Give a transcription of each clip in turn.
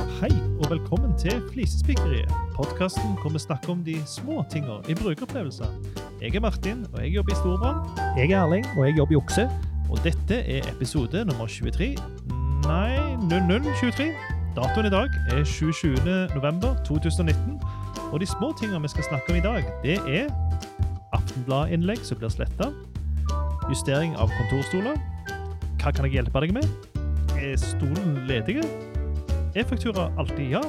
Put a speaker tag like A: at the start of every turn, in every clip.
A: og velkommen til Flisespikkeriet. Podkasten hvor vi snakker om de små tinga i brukeropplevelser. Jeg er Martin, og jeg jobber i Storbrann.
B: Jeg er Erling, og jeg jobber i okse.
A: Og dette er episode nummer 23 Nei, 0023. Datoen i dag er 27. november 2019. Og de små tinga vi skal snakke om i dag, det er Aftenblad-innlegg som blir sletta, justering av kontorstoler, hva kan jeg hjelpe deg med, er stolen ledige, e-faktura alltid ja,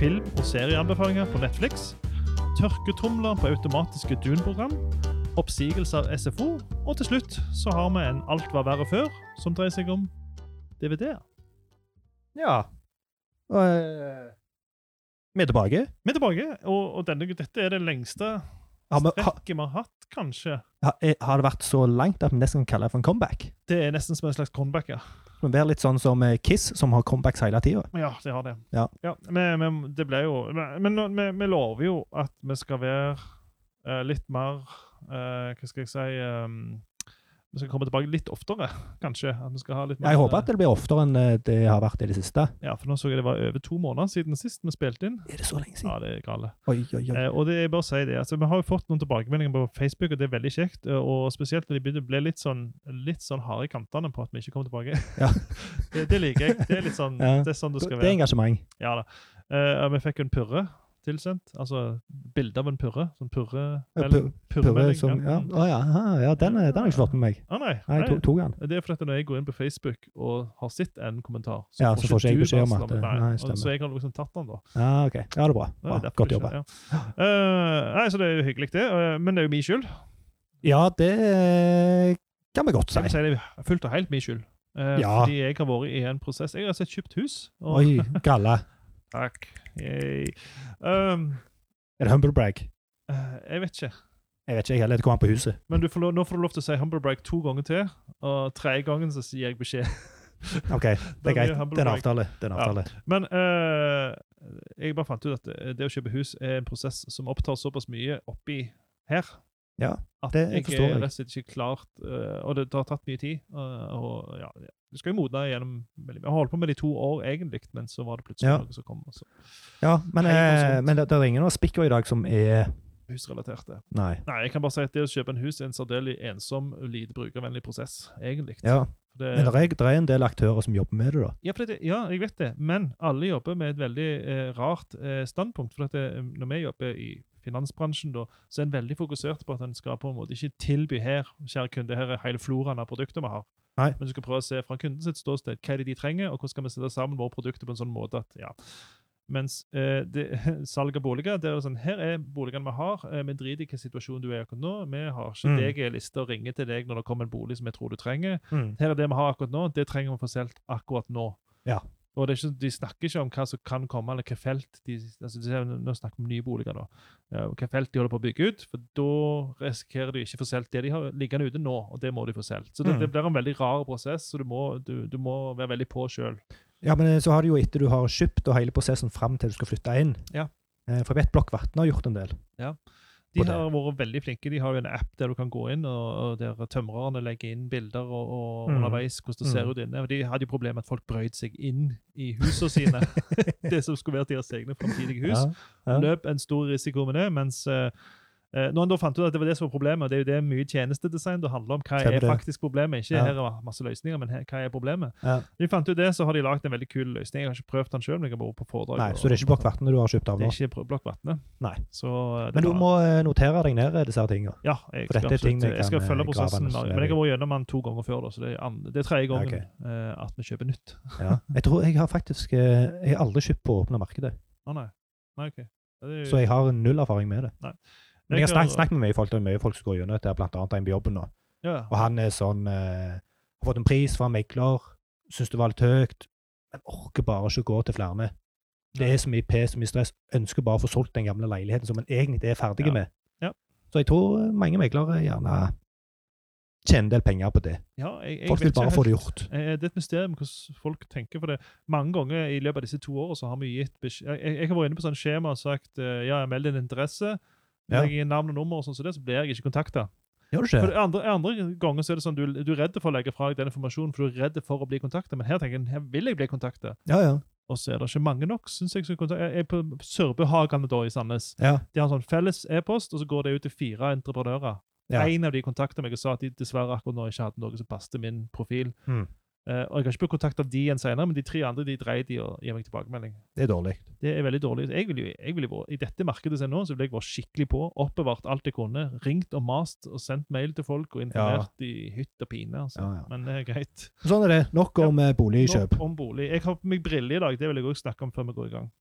A: film- og serieanbefalinger på Netflix, tørketromler på automatiske Dun-program, oppsigelse av SFO, og til slutt så har vi en Alt var verre før, som dreier seg om DVD-er.
B: Ja. Og eh, vi er tilbake.
A: Vi er tilbake, og, og denne, dette er det lengste
B: Har, vi, ha,
A: strekket vi har hatt, kanskje.
B: ha- eh, har det vært så langt at vi nesten kan kalle det for en comeback?
A: Det er nesten som en slags comeback, ja.
B: Det må være litt sånn som eh, Kiss, som har comebacks hele tida.
A: Ja, det har det.
B: Ja.
A: men, men det ble jo Men, men nå- vi, vi lover jo at vi skal være eh, litt mer eh, Hva skal jeg si ehm, Vi skal komme tilbake litt oftere, kanskje. At vi skal ha litt mer eh,
B: Jeg håper at det blir oftere enn eh, det har vært i det siste.
A: Ja, for nå så jeg det var over to måneder siden sist vi spilte inn.
B: Er det så lenge siden?
A: Ja, det er gale.
B: Oi, oi, oi.
A: Eh, og det, jeg bare sier det, altså, Vi har jo fått noen tilbakemeldinger på Facebook, og det er veldig kjekt. eh, Og spesielt når de begynte å bli litt sånn, litt sånn harde i kantene på at vi ikke kommer tilbake.
B: Ja.
A: det, det liker jeg. Det er litt sånn,
B: Ja.
A: det er sånn det
B: Det
A: skal
B: er
A: være.
B: engasjement.
A: Ja da. Eh, og vi fikk en purre tilsendt. Altså bilde av en purre. Sånn purre...
B: Ja,
A: eller
B: Purre
A: purremelding,
B: som Ja,
A: Mm.
B: Å, ja. Ah, ja den, eh, den har jeg ikke fått med meg.
A: Ah, nei,
B: Nei,
A: nei.
B: jeg to- tok den.
A: Det er fordi at når jeg går inn på Facebook og har sett en kommentar,
B: Ja, så får ikke jeg
A: du
B: beskjed om
A: varsel
B: at det-
A: Nei,
B: nei,
A: og
B: stemmer.
A: så jeg har liksom tatt den, da.
B: Ja, ok. Ja, det er bra.
A: Det er
B: bra.
A: derfor
B: Godt
A: det
B: jobba.
A: skjer, Ja. Eh, nei, så det er jo hyggelig, det. eh, men det er jo min skyld.
B: Ja, det eh, kan vi godt
A: Jeg vil
B: si.
A: si det er fullt og helt min skyld. Eh,
B: Ja.
A: Fordi jeg har vært i en prosess. Jeg har sett kjøpt hus. Og,
B: Oi, galla.
A: Takk. Yay. Um,
B: Er det humblebrag?
A: eh, jeg vet ikke.
B: Jeg vet ikke, jeg heller. Det kommer an på huset.
A: Men du får lov, nå får du lov til å si humble break to ganger til, og tredje gangen så gir jeg beskjed.
B: OK, det
A: blir
B: er greit.
A: humble
B: Det er en
A: brag.
B: avtale. Det er en
A: Ja.
B: avtale.
A: Men eh, jeg bare fant ut at eh, det, det å kjøpe hus er en prosess som opptar såpass mye oppi her.
B: Ja,
A: at
B: det
A: jeg
B: forstår
A: er
B: jeg.
A: rett og slett ikke klart, eh, og det, det har tatt mye tid. eh, og ja, Du skal jo modne gjennom veldig mye. Jeg har holdt på med det i to år egentlig, men så var det plutselig
B: Ja.
A: noe som kom, altså, og så
B: Ja, men,
A: Hei,
B: eh,
A: morsomt.
B: men det, det er ingen av spikkene i dag som er
A: husrelaterte.
B: Nei.
A: Nei, jeg kan bare si at det å kjøpe en hus er en særdeles ensom, lite brukervennlig prosess, egentlig.
B: Ja.
A: For det-
B: Men det er, det er en del aktører som jobber med det, da.
A: Ja, for det, ja, jeg vet det, men alle jobber med et veldig eh, rart eh, standpunkt. for at det, eh, Når vi jobber i finansbransjen, da, så er en veldig fokusert på at en skal på en måte ikke tilby her kjære kunde, her er hele floraen av produkter vi har.
B: Nei.
A: Men du skal prøve å se fra kunden sitt ståsted hva er det de trenger, og hvordan skal vi sette sammen våre produkter på en sånn måte at ja. Mens eh, det, salg av boliger der er det sånn, Her er boligene vi har. eh, Vi driter i hvilken situasjon du er i akkurat nå. Vi har ikke
B: Mm.
A: deg i en liste og ringer til deg når det kommer en bolig som jeg tror du trenger Mm, her er det vi har akkurat nå, det trenger vi å få solgt akkurat nå.
B: Ja.
A: Og det er ikke, De snakker ikke om hva som kan komme, eller hva felt de altså de sier, Nå snakker vi om nye boliger, da. eh, Hva felt de holder på å bygge ut. For da risikerer de ikke å få solgt det de har liggende ute nå, og det må de få solgt. Så det,
B: Mm.
A: det blir en veldig rar prosess, så du må, du, du må være veldig på sjøl.
B: Ja, men eh, så har du jo etter du har kjøpt og hele prosessen fram til du skal flytte inn.
A: Ja.
B: Eh, For jeg vet Blokkvatn har gjort en del.
A: De
B: På det.
A: har vært veldig flinke. De har jo en app der du kan gå inn, og, og der tømrerne legger inn bilder og, og
B: Mm.
A: underveis hvordan det ser
B: Mm.
A: ut inne. Og De hadde jo problemer med at folk brøt seg inn i husene sine. det som skulle vært deres egne framtidige hus.
B: Ja. Ja.
A: løp en stor risiko med det. mens eh, eh, når han da fant ut at det var det som var problemet, og det er jo det mye tjenestedesign det handler om, hva
B: Stemmer
A: er
B: det.
A: faktisk problemet? Ikke
B: Ja.
A: her er masse løsninger, men her, hva er problemet?
B: Ja.
A: Når de fant ut det, så har de lagd en veldig kul løsning. Jeg har ikke prøvd den sjøl, men jeg har vært på foredrag.
B: Nei,
A: og-
B: så det er ikke Blokkvatn du har kjøpt av
A: Det
B: nå.
A: er ikke Blokkvatnet.
B: Nei.
A: Så eh, det
B: Men du
A: var-
B: må eh, notere deg ned eh, disse her tingene.
A: ja, jeg
B: For
A: skal,
B: dette er ting
A: absolutt,
B: vi
A: jeg skal
B: kan,
A: følge
B: eh,
A: prosessen.
B: grave oss
A: Mario,
B: ned
A: Men jeg
B: i.
A: har vært gjennom den to ganger før, da, så det er, an- det er tredje gangen
B: Ok.
A: eh, at vi kjøper nytt.
B: Ja. Jeg tror jeg har faktisk eh, Jeg har aldri kjøpt på åpne markedet,
A: Å nei. nei ok. Ja, det er jo-
B: så jeg har null erfaring med det.
A: Nei.
B: Men jeg har
A: Jeg
B: snakket,
A: har-
B: snakket med mye folk, det er mye folk som går gjennom dette, blant annet en på jobben nå.
A: ja.
B: Og han er sånn eh, Har fått en pris fra en megler, syns det var litt høyt, men orker bare ikke gå til flere. Det er så mye pes, så mye stress. Ønsker bare å få solgt den gamle leiligheten som en egentlig er ferdig
A: Ja.
B: med.
A: Ja.
B: Så jeg tror eh, mange meglere gjerne tjener en del penger på det.
A: ja, jeg, jeg
B: Folk
A: vet
B: vil
A: ikke
B: bare få
A: helt.
B: det gjort.
A: Eh, Det er et mysterium hvordan folk tenker på det. Mange ganger i løpet av disse to årene så har vi gitt beskjed Jeg, jeg har vært inne på sånn skjema og sagt eh, ja, jeg meld din interesse.
B: Ja.
A: Legg inn navn og nummer, og sånn som det, så blir jeg ikke kontakta.
B: Gjør det ikke?
A: Andre, andre ganger så er det sånn du, du er redd for å legge fra deg den informasjonen, for du er redd for å bli kontakta. Men her tenker jeg her vil jeg bli kontakta.
B: Ja, ja.
A: Og så er det ikke mange nok, syns jeg. som kontak- Jeg er på Sørbøhagene da i Sandnes.
B: Ja.
A: De har en sånn felles e-post, og så går det ut til fire entreprenører.
B: Ja.
A: En av de kontakta meg og sa at de dessverre akkurat nå ikke hadde noe som passet min profil.
B: Mm.
A: Eh, og Jeg har ikke blitt kontakta av de igjen senere, men de tre andre de dreide i å gi meg tilbakemelding.
B: Det er dårlig.
A: Det er veldig dårlig. Jeg vil jo, jeg vil jo, I dette markedet som er nå, så ville jeg vært skikkelig på. Oppbevart alt jeg kunne. Ringt og mast og sendt mail til folk og informert i hytt og pine. Altså.
B: Ja, ja.
A: Men det er greit.
B: Sånn er det. Nok om eh, boligkjøp.
A: Nå om bolig. Jeg har på meg briller i dag. Det vil jeg òg snakke om før vi går i gang.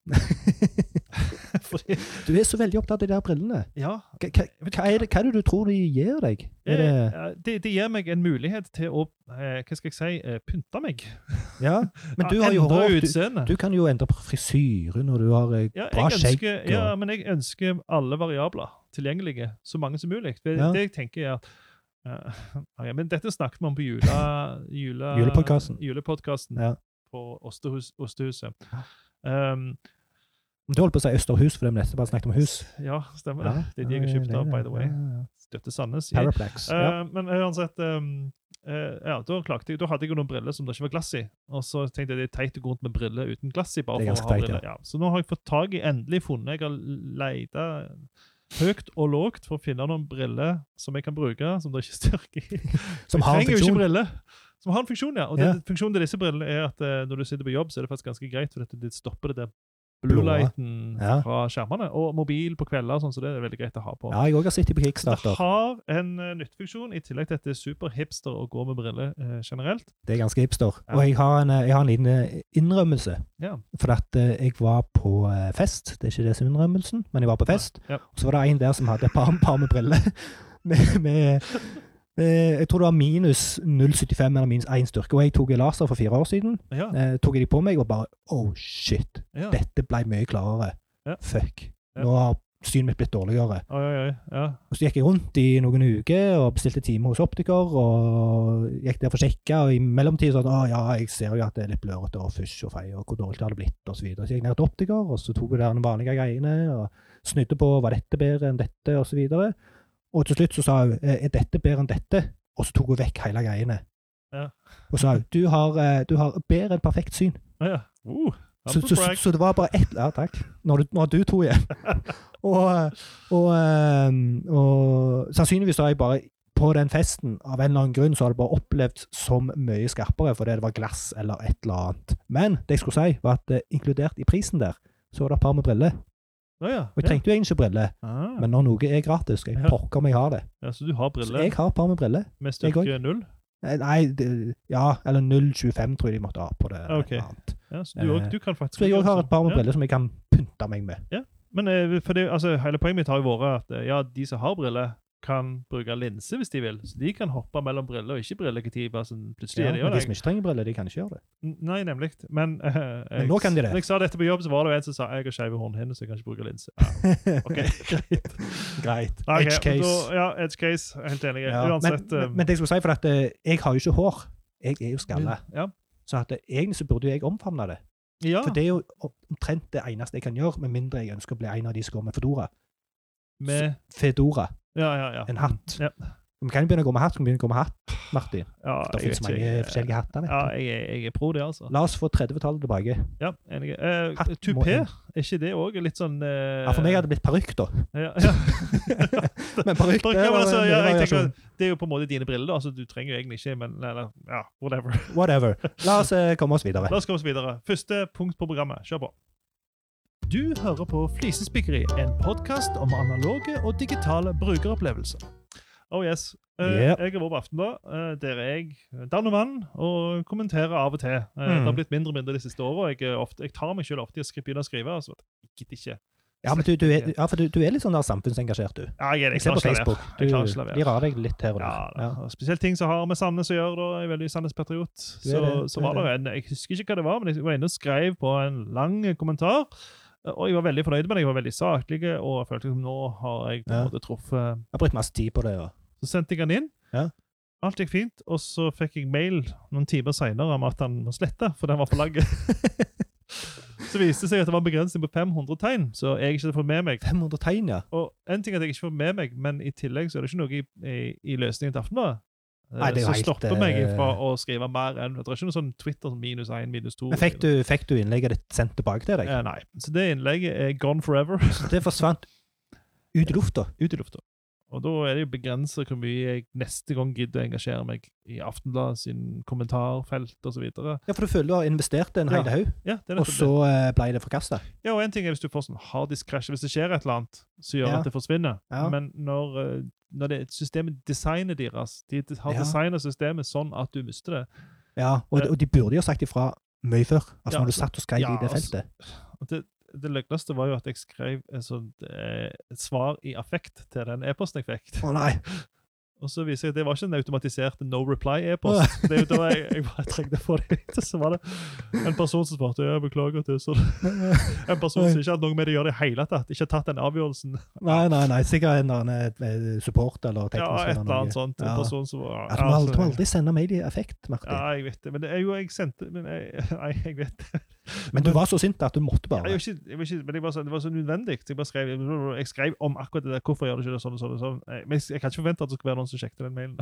A: Fordi,
B: Du er så veldig opptatt av de der brillene.
A: ja,
B: Hva, hva, hva, er det, hva er det du tror de gir deg? Er det,
A: eh, ja, det, det gir meg en mulighet til å eh, hva skal jeg si, eh, pynte meg.
B: ja? Men du
A: Ja,
B: har jo
A: endre
B: hår. Du,
A: utseende.
B: du kan jo endre på frisyre når du har eh,
A: Ja,
B: bra
A: jeg
B: skjegg.
A: ønsker, ja, men jeg ønsker alle variabler tilgjengelige, så mange som mulig. Det,
B: Ja.
A: det jeg tenker er at eh, ok, Men dette snakket vi om på jula, jula,
B: Julepodcasten.
A: julepodcasten
B: Ja.
A: på Ostehus, Ostehuset.
B: Ja.
A: Um,
B: Du holdt på å si Østerhus, for det er nettopp bare snakket om hus.
A: ja, stemmer det. Det er de jeg har kjøpt av, by the way. Støtte Sandnes. i-
B: Paraplex.
A: Eh,
B: Ja.
A: Men uansett um, eh, ja, da, klagde jeg, da hadde jeg jo noen briller som det ikke var glass i. Og så tenkte jeg det er teit å gå rundt med briller uten glass i. bare
B: Det
A: for å
B: er ganske
A: ha
B: teit, ja.
A: briller. Ja. Så nå har jeg fått tak i, endelig funnet Jeg har leita høyt og lågt for å finne noen briller som jeg kan bruke, som det ikke er styrke i.
B: Som har
A: Jeg trenger jo
B: en
A: ikke
B: funksjon.
A: briller. Som har en funksjon, ja. Og
B: Ja.
A: den funksjonen til disse brillene er at eh, når du sitter på jobb, så er det faktisk ganske greit, for at det stopper det der blue
B: Blå.
A: lighten
B: Ja.
A: fra skjermene. Og mobil på kvelder og sånn, så det er veldig greit å ha på.
B: Ja, jeg òg har sett dem på
A: Det
B: Kickstarter.
A: har en eh, nyttefunksjon, i tillegg til at det er superhipster å gå med briller eh, generelt.
B: Det er ganske hipster.
A: Ja.
B: Og jeg har en, jeg har en liten eh, innrømmelse.
A: Ja.
B: For at eh, jeg var på eh, fest, det er ikke det som er innrømmelsen, men jeg var på fest.
A: Ja.
B: Og så var det en der som hadde et par, par med briller. med, med, med, jeg tror det var minus 0,75 eller minus 1 styrke. Og jeg tok laser for fire år siden.
A: Ja,
B: Eh, tok jeg de på meg og bare Oh shit,
A: ja.
B: dette ble mye klarere.
A: Ja.
B: Fuck.
A: Ja.
B: Nå har synet mitt blitt dårligere.
A: Oi, oi, oi. Ja.
B: Og så gikk jeg rundt i noen uker og bestilte time hos optiker. Og gikk der for å sjekke, og i mellomtiden sånn Å ja, jeg ser jo at det er litt blørete og fysj og fei, og hvor dårlig det hadde blitt, og så videre. Så gikk jeg ned til optiker, og så tok jeg der de vanlige greiene og snudde på var dette bedre enn dette, og så videre. Og til slutt så sa hun «Eh, er dette bedre enn dette, og så tok hun vekk hele greiene.
A: Ja.
B: Og sa hun du har, eh, du har bedre enn perfekt syn.
A: Ja, ja. Uh,
B: Så,
A: humble
B: så, så,
A: brag.
B: så det var bare ett Ja, takk. Nå har du, nå har du to igjen. og, og, ehm, og sannsynligvis har jeg bare på den festen av en eller annen grunn så har det bare opplevd som mye skarpere fordi det var glass eller et eller annet. Men det jeg skulle si, var at eh, inkludert i prisen der, så var det et par med briller.
A: Å, ja.
B: Og jeg trengte jo egentlig ikke briller,
A: ja. Ah.
B: men når noe er gratis, skal
A: Ja.
B: jeg pokker om jeg har det.
A: ja, Så du har
B: Så
A: briller
B: jeg har et par med briller.
A: med
B: jeg
A: styrke null?
B: Eh, Nei, det, ja, eller 0,25 tror jeg de måtte ha på det. eller
A: Ok.
B: et eller annet.
A: Ja, så du,
B: Eh,
A: også, du kan faktisk
B: Så jeg òg har et par med
A: Ja.
B: briller som jeg kan pynte meg med.
A: Men eh, for det, altså, hele poenget mitt har jo vært at eh, ja, de som har briller, kan bruke linse hvis de vil. Så de kan hoppe mellom briller og ikke brilleketiver. Sånn, plutselig
B: Ja,
A: er det
B: men
A: jo
B: de
A: det.
B: som ikke trenger briller, de kan ikke gjøre det.
A: N- Nei, nemlig. Men, eh, jeg,
B: nå kan de det.
A: Når jeg sa dette på jobb, så var det jo en som sa jeg har skeive hornhinner, så jeg kan ikke bruke linse. Ja, ok, greit.
B: Greit.
A: Ok,
B: Edge
A: men
B: case.
A: Da, ja, edge case. Helt enig.
B: Ja,
A: Uansett
B: men,
A: eh,
B: men, men det jeg skulle si, for at eh, jeg har jo ikke hår. Jeg er jo skalla.
A: Ja.
B: Så at eh, egentlig så burde jo jeg omfavne det.
A: ja.
B: For det er jo omtrent det eneste jeg kan gjøre, med mindre jeg ønsker å bli en av de som går med fedora.
A: Med
B: Fedora,
A: Ja, ja, ja.
B: en hatt.
A: Ja.
B: Vi kan jo begynne å gå med hatt, så kan vi begynne å gå med hatt, Martin.
A: ja jeg
B: Det finnes
A: vet
B: mange
A: ikke, jeg-
B: forskjellige hatter.
A: Ja,
B: vet
A: jeg, er- jeg er pro det, altså.
B: du. La oss få 30-tallet tilbake.
A: Ja, enig. Uh,
B: Hatt må
A: Tupé,
B: inn.
A: er ikke det òg litt sånn eh,
B: Ja, for meg hadde det blitt parykk, da.
A: ja, ja.
B: Men parykk,
A: Bruk-
B: det
A: ja, men
B: var
A: altså,
B: en
A: ja, jeg tenker,
B: variasjon.
A: at det er jo på en måte dine briller, da, så du trenger jo egentlig ikke men eller, ja, whatever.
B: Whatever. La oss eh, komme oss videre.
A: La oss komme oss videre. Første punkt på programmet. Kjør på. Du hører på Flisespikkeri, en podkast om analoge og digitale brukeropplevelser. Oh yes. Eh,
B: Yeah.
A: Jeg er vår på Aftenblad. eh, der er jeg eh, dann og vann og kommenterer av og til. Eh,
B: Mm.
A: Det har blitt mindre og mindre de siste åra. Jeg, er ofte- jeg tar meg selv ofte i å skri- begynne å skrive. og så jeg gidder ikke.
B: Ja, men du, du, er, ja, for du, du er litt sånn der samfunnsengasjert, du.
A: Ja, jeg er det.
B: Jeg
A: Jeg
B: ser
A: klarer
B: på
A: ikke å la være.
B: Facebook. Du,
A: Jeg klarer ikke å la være.
B: de rader deg litt her og
A: Ja,
B: der.
A: da.
B: Ja.
A: Og Spesielt ting som har med Sandnes å gjøre. da, Jeg er veldig Sandnes-patriot.
B: Du er
A: Så,
B: det,
A: så
B: du
A: var
B: er
A: det en, Jeg husker ikke hva det var, men jeg var inne og skrev på en lang kommentar. Og jeg var veldig fornøyd med det. Jeg var veldig saklig og jeg følte som nå har jeg på en
B: Ja.
A: måte truffet.
B: Jeg har brukt masse tid på det. Og.
A: Så sendte jeg han inn.
B: Ja.
A: Alt gikk fint, og så fikk jeg mail noen timer seinere om at han må slette, for den var for lang. så viste det seg at det var en begrensning på 500 tegn, så jeg ikke hadde fått med meg.
B: 500 tegn, ja.
A: Oh, Og en ting er at jeg ikke får med meg, men i tillegg så er det ikke noe i, i, i løsningen til Aftenbladet.
B: Nei, det er
A: så
B: jo helt,
A: stopper meg
B: eh,
A: fra å skrive mer enn Det er ikke noe sånn Twitter som minus én, minus to.
B: Men fikk du, fikk du innlegget ditt sendt tilbake til deg?
A: Eh, Nei. Så det innlegget er gone forever.
B: Så det forsvant ut i lufta.
A: Ut i lufta. Og da er det jo begrenset hvor mye jeg neste gang gidder å engasjere meg i Aftenbladet sin kommentarfelt osv.
B: Ja, for du føler du har investert en hel
A: Ja.
B: haug,
A: Ja, det er
B: og
A: nettopp
B: så eh, ble det forkasta.
A: det. Ja, og en ting er hvis du får sånn harddisk-krasj hvis det skjer et eller annet som gjør
B: Ja.
A: at det forsvinner.
B: Ja.
A: Men når, eh, når det systemet designer deres De har
B: Ja.
A: designet systemet sånn at du mister det.
B: Ja, og,
A: Ja.
B: og de burde jo sagt ifra mye før. Altså
A: Ja,
B: når du satt og skrev
A: ja,
B: i det
A: altså-
B: feltet.
A: Og det, det løgneste var jo at jeg skrev en sånn, eh, et svar i affekt til den e-posten jeg fikk.
B: Å nei!
A: Og så viser jeg at det var ikke en automatisert no reply-e-post. Det er jo da jeg, jeg bare trengte å få det ut. og Så var det en person som svarte ja, jeg beklager til så En person som ikke hadde noe med det å gjøre i det hele tatt. Ikke har tatt den avgjørelsen.
B: Nei, nei, nei. Sikkert en eller annen eh, support eller
A: Ja,
B: teknisk.
A: et eller annet sånt. En
B: Ja.
A: person som var
B: Ja, du må aldri, du må
A: altså,
B: aldri sende mail i effekt, Martin.
A: ja, jeg vet det. Men det er jo jeg sendte men jeg, Nei, jeg vet det.
B: Men du var så sint at du måtte
A: Jeg,
B: bare.
A: gjorde ikke, jeg, var ikke, men jeg var så, det var så nødvendig. Jeg, bare skrev, jeg skrev om akkurat det der. Hvorfor gjør du ikke det sånn og sånn? og sånn. Jeg- Men jeg, jeg kan ikke forvente at det skal være noen som sjekket den mailen.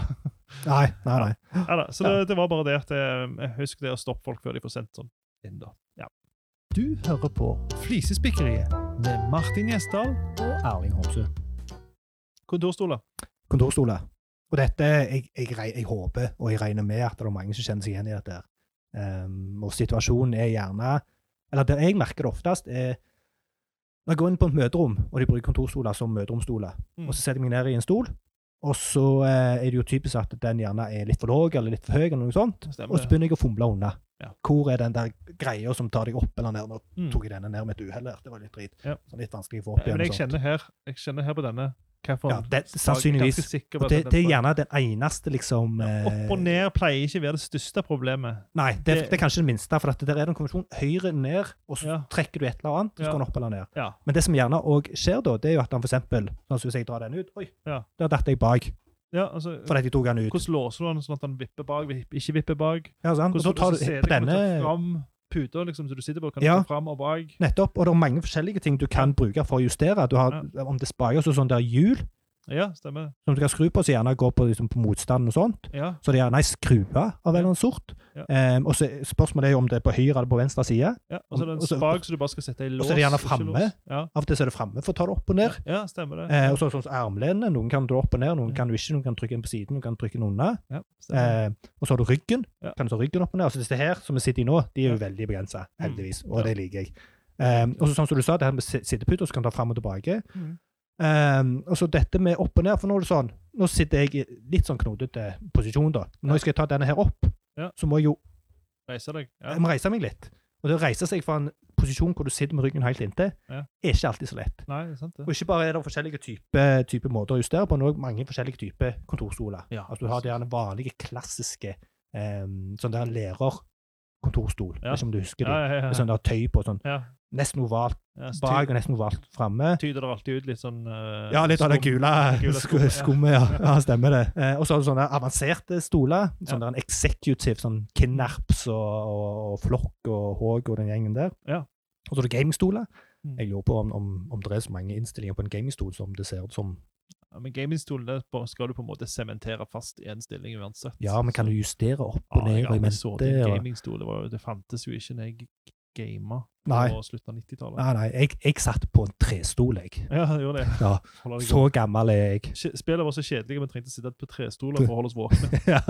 B: Nei, nei, nei.
A: Ja, da, så
B: Ja.
A: det, det var bare det at jeg, jeg husker det å stoppe folk før de får sendt sånn inn, da. Ja. Du hører på Flisespikkeriet med Martin Gjesdal.
B: Erling Homsø.
A: Kontorstoler.
B: kontorstoler. Og dette, jeg, jeg, reg- jeg håper og jeg regner med at det er mange som kjenner seg igjen i dette. her. Ehm, og situasjonen er gjerne Eller der jeg merker det oftest, er når jeg går inn på et møterom, og de bruker kontorstoler som møteromstoler.
A: Mm.
B: Og så setter jeg meg ned i en stol, og så eh, er det jo typisk at den gjerne er litt for lav eller litt for høy, eller noe sånt. Og så
A: Stemmer det.
B: begynner jeg å fomle unna.
A: Ja.
B: Hvor er den der greia som tar deg opp eller ned? Nå
A: Mm.
B: tok jeg denne ned med et uhell her. Det var litt drit.
A: Ja.
B: Så litt vanskelig å få
A: Ja,
B: opp igjen.
A: Men jeg
B: og sånt.
A: kjenner her jeg kjenner her på denne hvilken
B: Ja, det, sannsynligvis. Og det, det er gjerne den eneste, liksom
A: Opp og
B: eh,
A: ned pleier ikke å være det største problemet.
B: Nei, det,
A: Det-
B: det er kanskje det minste. For at der er det en konvensjon høyre ned, og så
A: Ja.
B: trekker du et eller annet, og så
A: Ja.
B: går den opp eller ned.
A: Ja.
B: Men det som gjerne òg skjer da, det er jo at han f.eks. Sånn som hvis jeg drar den ut Oi,
A: Ja.
B: der datt jeg bak
A: Ja, altså,
B: fordi jeg tok den ut.
A: hvordan låser du den sånn at den vipper bak, vipp- ikke vipper bak?
B: Ja, sant? Og
A: Hvordan
B: så tar du
A: hvordan ser
B: på
A: det ut? Kan du
B: denne
A: ta fram puter liksom, som du sitter på, kan
B: Ja.
A: du ta fram og bak?
B: Nettopp. Og det er mange forskjellige ting du kan bruke for å justere. Du har, Om det er spaker, så sånn der hjul
A: Ja, stemmer.
B: som du kan skru på, så gjerne går på, liksom, på motstand og sånt.
A: Ja.
B: Så det er gjerne ei skrue av en eller annen sort.
A: Ja.
B: Ehm, og så er- Spørsmålet er jo om det er på høyre eller på venstre side.
A: ja. Og så er det en
B: Og så-
A: spak som du bare skal sette i lås.
B: Og så er det gjerne
A: ikke
B: fremme.
A: lås. Ja.
B: Av og til så er det framme for å ta det opp og ned.
A: Ja, stemmer det.
B: Eh, og så er det sånn som armlenene. Noen kan dra opp og ned, noen
A: Ja.
B: kan du ikke. Noen kan trykke inn på siden, noen kan trykke den unna.
A: Ja, stemmer.
B: Eh, og så har du ryggen.
A: Ja.
B: Kan du ta ryggen opp og ned. Altså disse her som vi sitter i nå, de er jo veldig begrensa,
A: Mm.
B: heldigvis.
A: Ja.
B: Og det liker jeg. Eh, og så sånn som du sa, det her med si- sitteputer som kan ta fram og tilbake.
A: Mm.
B: Eh, og så dette med opp og ned. For nå er det sånn, nå sitter jeg i litt sånn knotete posisjon, da. Men
A: Ja.
B: når jeg skal ta denne her opp,
A: Ja.
B: så må jeg jo
A: Reiser deg. Ja.
B: jeg må reise meg litt. Og det å reise seg fra en posisjon hvor du sitter med ryggen helt inntil,
A: Ja.
B: er ikke alltid så lett.
A: Nei, det er sant det.
B: Og ikke bare er det forskjellige typer type måter å justere på, men også mange forskjellige typer kontorstoler.
A: Ja,
B: Altså, du har de gjerne vanlige, klassiske um, sånn der lærerkontorstol,
A: Ja.
B: ikke om du husker
A: Ja,
B: de.
A: ja, Altså, ja.
B: Med sånn der tøy på, sånn
A: ja.
B: nesten ovalt
A: ja så
B: bak
A: ty
B: og nesten ovalt framme.
A: tyder det alltid ut litt sånn eh,
B: Ja, litt av det
A: skum.
B: gule
A: gule
B: sku-
A: skummet, ja.
B: skummet, ja. ja. Stemmer det. Eh, og så har du sånne avanserte stoler. Sånn der en executive, sånn Kinnerps og, og, og Flokk og Håg og den gjengen der.
A: Ja.
B: Og så har du gamingstoler.
A: Mm.
B: Jeg lurer på om, om, om det er så mange innstillinger på en gamingstol som det ser ut som
A: Ja, Men gamingstolen det er på- skal du på en måte sementere fast i en stilling uansett.
B: Ja, men kan du justere opp
A: Ah, Ja,
B: og ned
A: jeg har
B: og i
A: aldri
B: mente?
A: så det i en
B: og-
A: gamingstol. Det, var jo, det fantes jo ikke når jeg g- gamet
B: Nei.
A: på slutten av 90-tallet.
B: Ah, Nei, nei, jeg, jeg satt på en trestol, jeg.
A: Ja, det gjorde det.
B: Ja,
A: Holder det
B: så gammel er jeg.
A: godt. Skje- Spillet var så kjedelig, vi trengte å sitte på trestoler for å holde oss våkne.
B: Ja.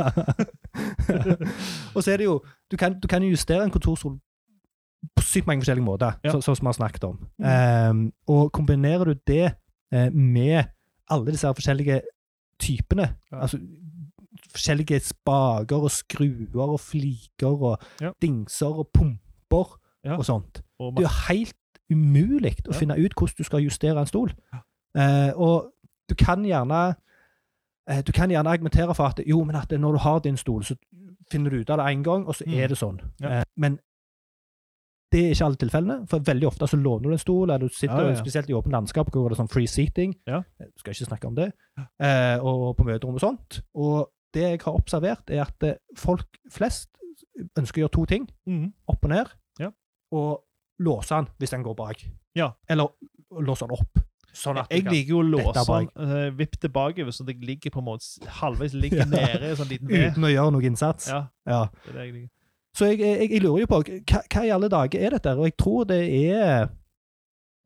B: og så er det jo Du kan, du kan jo justere en kontorstol på sykt mange forskjellige måter,
A: Ja.
B: så- sånn som vi har snakket om.
A: Mm.
B: Ehm, og kombinerer du det eh, med alle disse her forskjellige typene,
A: Ja.
B: altså forskjellige spaker og skruer og fliker og
A: Ja.
B: dingser og pumper
A: Ja.
B: og sånt.
A: Og
B: Det er jo helt umulig å
A: Ja.
B: finne ut hvordan du skal justere en stol.
A: Ja.
B: Eh, og du kan gjerne eh, du kan gjerne argumentere for at jo, men at når du har din stol, så finner du ut av det én gang, og så
A: Mm.
B: er det sånn.
A: Ja.
B: Eh, men det er ikke alle tilfellene, for veldig ofte så låner du en stol, eller du sitter
A: Ja, ja, ja.
B: spesielt i åpent landskap hvor det er sånn free seating.
A: Ja.
B: Eh, Skal ikke snakke om det. Eh, og på møterom og sånt. Og det jeg har observert, er at eh, folk flest ønsker å gjøre to ting
A: Mhm.
B: opp og ned,
A: Ja.
B: og låse den hvis den går bak.
A: Ja.
B: Eller låse den opp. Sånn at
A: Jeg
B: du kan-
A: liker jo å låse
B: Dette
A: den
B: er
A: uh, vipp tilbake, sånn at jeg ligger på en måte s- halvveis ligger
B: Ja.
A: nede i en sånn liten V.
B: Uten å gjøre noe innsats.
A: Ja,
B: Ja.
A: det er det jeg liker.
B: Så jeg, jeg, jeg lurer jo på hva, hva i alle dager er dette? Og jeg tror det er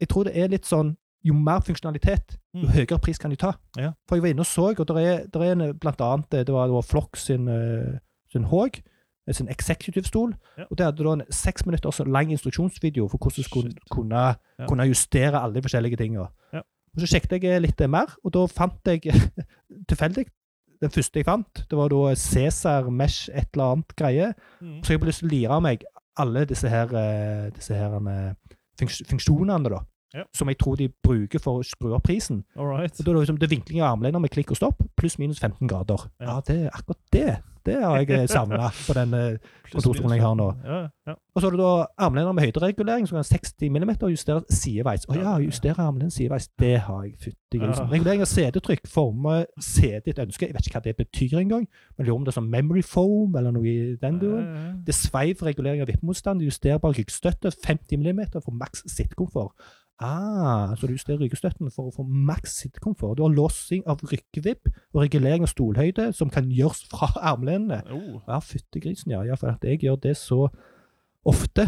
B: Jeg tror det er litt sånn Jo mer funksjonalitet, jo
A: Mm.
B: høyere pris kan de ta.
A: Ja.
B: For jeg var inne og så, og der er, der er en, blant annet det var, det var Flox sin, eh, sin Haag, eh, sin executive-stol.
A: Ja.
B: Og det hadde da en seks minutter så lang instruksjonsvideo for hvordan du skulle
A: Shit.
B: kunne,
A: Ja.
B: kunne justere alle de forskjellige tinga.
A: Ja.
B: Og så sjekket jeg litt mer, og da fant jeg tilfeldig den første jeg fant. Det var da Cæsar Mesh et eller annet greie.
A: Mm.
B: Så jeg har lyst til å lire av meg alle disse her, eh, disse her eh, funks funksjonene, da.
A: Ja.
B: Som jeg tror de bruker for å skru opp prisen.
A: All right.
B: Og da er det liksom det er vinkling av armlener med klikk og stopp, pluss minus 15 grader.
A: Ja.
B: Ja, det er akkurat det. Det har jeg savna på den. eh. kontorstolen jeg har nå.
A: Ja, ja.
B: Og så er det da armlener med høyderegulering, som kan 60 mm og justeres sideveis. Å ja,
A: Ja.
B: justere armlenen sideveis, det har jeg fytti grisen.
A: Ja.
B: Regulering av CD-trykk, forme CD et ønske. Jeg vet ikke hva det betyr engang. Men lurer om det er sånn memory foam eller noe i den duren.
A: Ja, ja, ja.
B: Det er sveiv regulering av vippemotstand, justerbar ryggstøtte, 50 mm for maks sittkomfort. Ah, så du justerer ryggstøtten for å få maks sittkomfort. Du har låsing av ryggevipp og regulering av stolhøyde som kan gjøres fra armlenene.
A: Oh.
B: Ja, fyttegrisen, ja. ja. For at jeg gjør det så ofte.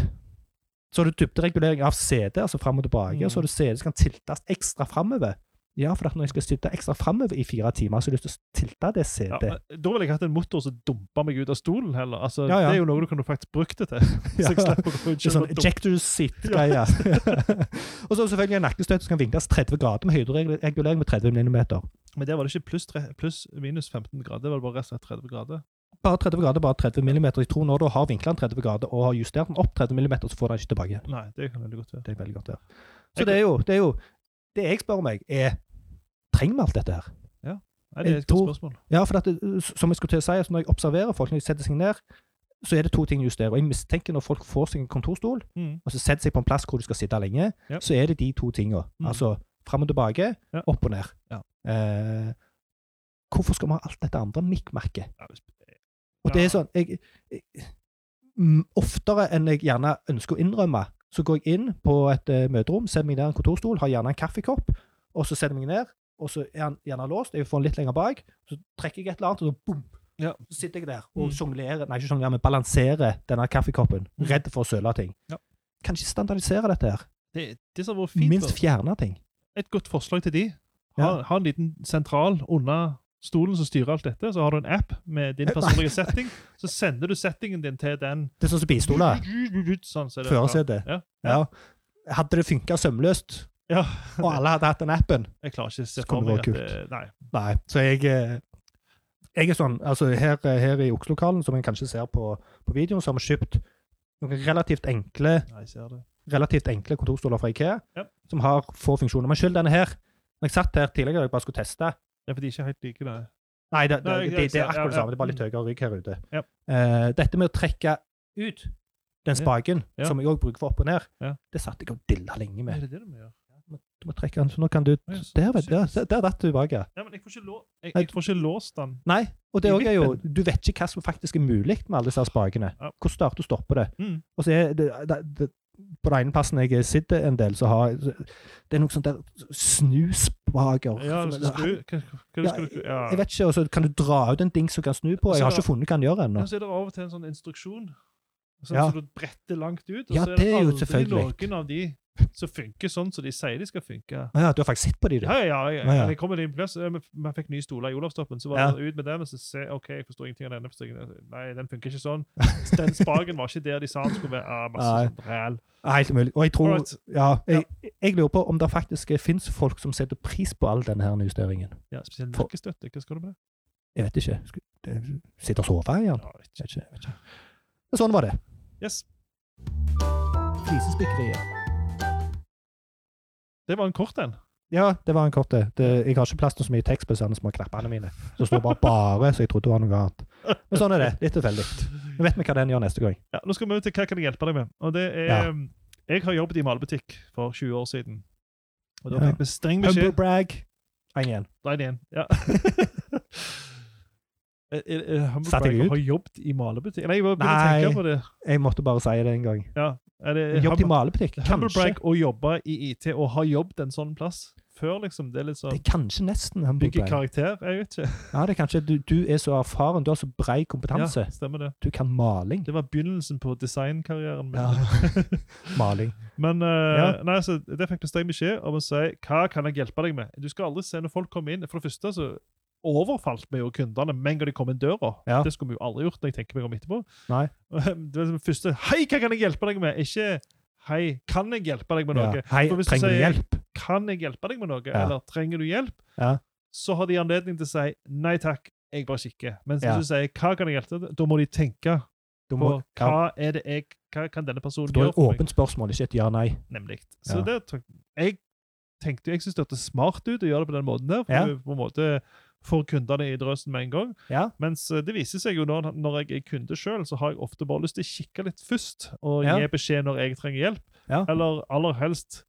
B: Så har du dybderegulering av CD, altså fram og tilbake.
A: Mm.
B: Og så har du CD som kan tiltes ekstra framover. Ja, for at når jeg skal sitte ekstra framover i fire timer, så har jeg lyst til å tilte det CD.
A: Ja, men da ville jeg hatt en motor som dumpa meg ut av stolen heller. Altså,
B: Ja, ja.
A: Det er jo noe du kunne faktisk brukt det til. Så jeg
B: Ja.
A: slipper å gå rundt
B: Det er
A: selv
B: sånn
A: og dumpe.
B: ejector seat-greie. og så selvfølgelig en nakkestøt som kan vinkles 30 grader med høyderegulering med 30 mm.
A: Men der var det ikke pluss, tre, pluss minus 15 grader, det var bare rett og slett 30 grader.
B: Bare 30 grader, bare 30 mm. Jeg tror når du har vinkla den 30 grader og har justert den opp 30 mm, så får du den ikke tilbake igjen.
A: Nei, det kan veldig godt være.
B: Det er veldig godt der. Så det er jo Det, er jo, det jeg spør meg, er Trenger vi alt dette her?
A: Nei, det er
B: Jeg
A: et godt
B: tror-
A: spørsmål.
B: Ja, for at det, som jeg skulle til å si, altså når jeg observerer folk, når de setter seg ned, så er det to ting de justerer. Og jeg mistenker når folk får seg en kontorstol,
A: Mm.
B: og så setter seg på en plass hvor du skal sitte lenge,
A: Ja.
B: så er det de to tinga.
A: Mm.
B: Altså fram og tilbake,
A: Ja.
B: opp og ned.
A: Ja.
B: Eh, hvorfor skal vi ha alt dette andre mikkmakket?
A: Ja, hvis-
B: Og det
A: Ja.
B: er sånn jeg, jeg, mm, Oftere enn jeg gjerne ønsker å innrømme, så går jeg inn på et eh, møterom, setter meg ned i en kontorstol, har gjerne en kaffekopp, og så setter jeg meg ned, og så er han gjerne låst, jeg får den litt lenger bak, så trekker jeg et eller annet, og så boom!
A: Ja.
B: Så sitter jeg der
A: Mm.
B: og sjonglerer, nei, ikke sjonglerer, men balanserer denne kaffekoppen,
A: Mm.
B: redd for å søle ting.
A: Ja.
B: Kan ikke standardisere dette her.
A: Det, det som har vært fint,
B: Minst
A: da.
B: fjerne ting.
A: et godt forslag til de. Ha, ha en liten sentral under stolen som styrer alt dette. Så har du en app med din personlige setting. Så sender du settingen din til den.
B: Det er sånn som bistoler.
A: Sånn, så er det-
B: Førersete.
A: Ja.
B: Ja. Hadde det funka sømløst,
A: Ja.
B: og alle hadde hatt den appen
A: Jeg klarer ikke å se
B: Det
A: for
B: kunne
A: meg
B: vært
A: at det, Nei.
B: Nei. Så jeg eh, Jeg er sånn Altså, her, her i Okselokalen, som en kanskje ser på, på videoen, så har vi kjøpt noen relativt enkle
A: nei, jeg ser det.
B: relativt enkle kontorstoler fra Ikea,
A: Ja.
B: som har få funksjoner. Men selv denne her Når jeg satt her tidligere og jeg bare skulle
A: Det
B: teste
A: er fordi de ikke er helt like, nei.
B: Nei, det, det,
A: Nei, jeg-
B: det, det
A: jeg
B: er
A: ser-
B: akkurat det
A: ja, ja.
B: samme. Det er bare litt høyere rygg her ute.
A: Ja.
B: Eh, dette med å trekke ut den
A: Ja.
B: spaken,
A: Ja.
B: som jeg òg bruker for opp og ned,
A: Ja.
B: det satt jeg og dilla lenge med.
A: Er det det de gjør?
B: Du må trekke den, så nå kan du
A: ja, så-
B: Der, vet du. Der, der datt du tilbake.
A: Nei, men jeg får ikke, lå, jeg, jeg får ikke låst den.
B: Nei, og det
A: I
B: òg er jo Du vet ikke hva som faktisk er mulig med alle disse her spakene.
A: Ja.
B: Hvor starter og stopper det?
A: Mm.
B: Og så er det, det, det På den ene plassen jeg sitter en del, så har jeg Det er noe sånt der snuspaker.
A: Ja, du skal skru Hva, hva
B: Ja,
A: skal du Ja.
B: Jeg vet ikke, og så kan du dra ut en dings som kan snu på.
A: Og så
B: Jeg har
A: da-
B: ikke funnet hva han gjør ennå.
A: Men så er det av og til en sånn instruksjon. Sånn
B: Ja.
A: som du bretter langt ut. Og
B: Ja,
A: så er
B: det
A: det
B: er jo
A: aldri
B: selvfølgelig.
A: noen av de som funker sånn som de sier de skal funke.
B: Å Ja, du har faktisk sett på de, du.
A: Ja, ja, ja.
B: Ja, ja.
A: Jeg kom til en plass, eh, vi fikk nye stoler i Olavstoppen, så var
B: Ja.
A: det ut med dem, og så se, ok, jeg forstår ingenting av denne, forstår ingenting. av- Nei, den funker ikke sånn. Den spagen var ikke der de sa den skulle være. Ah, masse
B: Nei.
A: sånn ræl.
B: Ja, Helt umulig. Og jeg tror
A: Alright.
B: Ja, jeg, jeg lurer på om det faktisk fins folk som setter pris på all denne her justeringen.
A: Ja, spesielt
B: For-
A: nakkestøtte. Hva skal du med det?
B: Jeg vet ikke. Skal- det- Sitter og sover i den?
A: Ja, vet
B: Jeg
A: ikke.
B: vet ikke. jeg vet ikke. Men Sånn var det.
A: Yes,
B: Flisespikkeriet.
A: det var en kort en.
B: Ja, det var en kort eh, det. Det- Jeg har ikke plass til så mye tekst på disse små knappene mine. Så står bare 'bare', så jeg trodde det var noe annet. Men sånn er det. Litt tilfeldig. Nå vet vi hva den gjør neste gang.
A: Ja, nå skal vi ut til hva kan jeg hjelpe deg med. Og det er, um,
B: Ja.
A: jeg har jobbet i malbutikk for 20 år siden. Og da
B: Ja.
A: fikk vi streng
B: Humble
A: beskjed.
B: brag. En igjen.
A: Nei, det er en. Ja. Jeg- jeg- jeg- Humble
B: Satte jeg
A: brag,
B: ut?
A: Har jobbet i malebutikk? Nei, jeg bare begynte å
B: Nei.
A: tenke på det.
B: Jeg måtte bare si det en gang.
A: Er det
B: Jobbet i malebutikk.
A: Eh, Humble
B: Kanskje.
A: brag å jobbe i IT og ha jobbet en sånn plass. før, liksom. Det er litt
B: Det
A: sånn
B: er kanskje nesten humble
A: Bygge
B: brag.
A: karakter. Jeg vet ikke.
B: Ja, det er kanskje du, du er så erfaren, du har så brei kompetanse.
A: Ja, stemmer det.
B: Du kan maling.
A: Det var begynnelsen på designkarrieren min.
B: Ja. maling.
A: Men eh,
B: Ja.
A: nei, så det fikk jeg streng beskjed om å si hva kan jeg hjelpe deg med. Du skal aldri se når folk kommer inn. For det første så overfalt vi jo kundene med en gang de kom inn døra.
B: Ja.
A: Det skulle vi jo aldri gjort når jeg tenker meg om etterpå.
B: Nei.
A: Det var liksom det første Hei, hva kan jeg hjelpe deg med? Ikke Hei, kan jeg hjelpe deg med
B: Ja.
A: noe?
B: Hei,
A: For hvis du
B: trenger du
A: sier-
B: hjelp?
A: Kan jeg hjelpe deg med noe?
B: Ja.
A: Eller trenger du hjelp?
B: Ja.
A: Så har de anledning til å si nei takk, jeg bare kikker. Mens
B: Ja.
A: hvis du sier hva kan jeg hjelpe deg med, da må de tenke
B: Du
A: på
B: må, ja,
A: hva er det jeg hva kan denne personen
B: det er
A: gjøre
B: et
A: for meg?
B: åpent spørsmål, ikke et ja-nei.
A: Nemlig. Så
B: Ja.
A: det tok- jeg tenkte, jeg synes det hørtes smart ut å gjøre det på den måten der, for
B: Ja.
A: du på en måte får kundene i drøsen med en gang.
B: Ja.
A: Mens eh, det viser seg jo når, når jeg er kunde sjøl, så har jeg ofte bare lyst til å kikke litt først, og
B: Ja.
A: gi beskjed når jeg trenger hjelp.
B: Ja.
A: Eller aller helst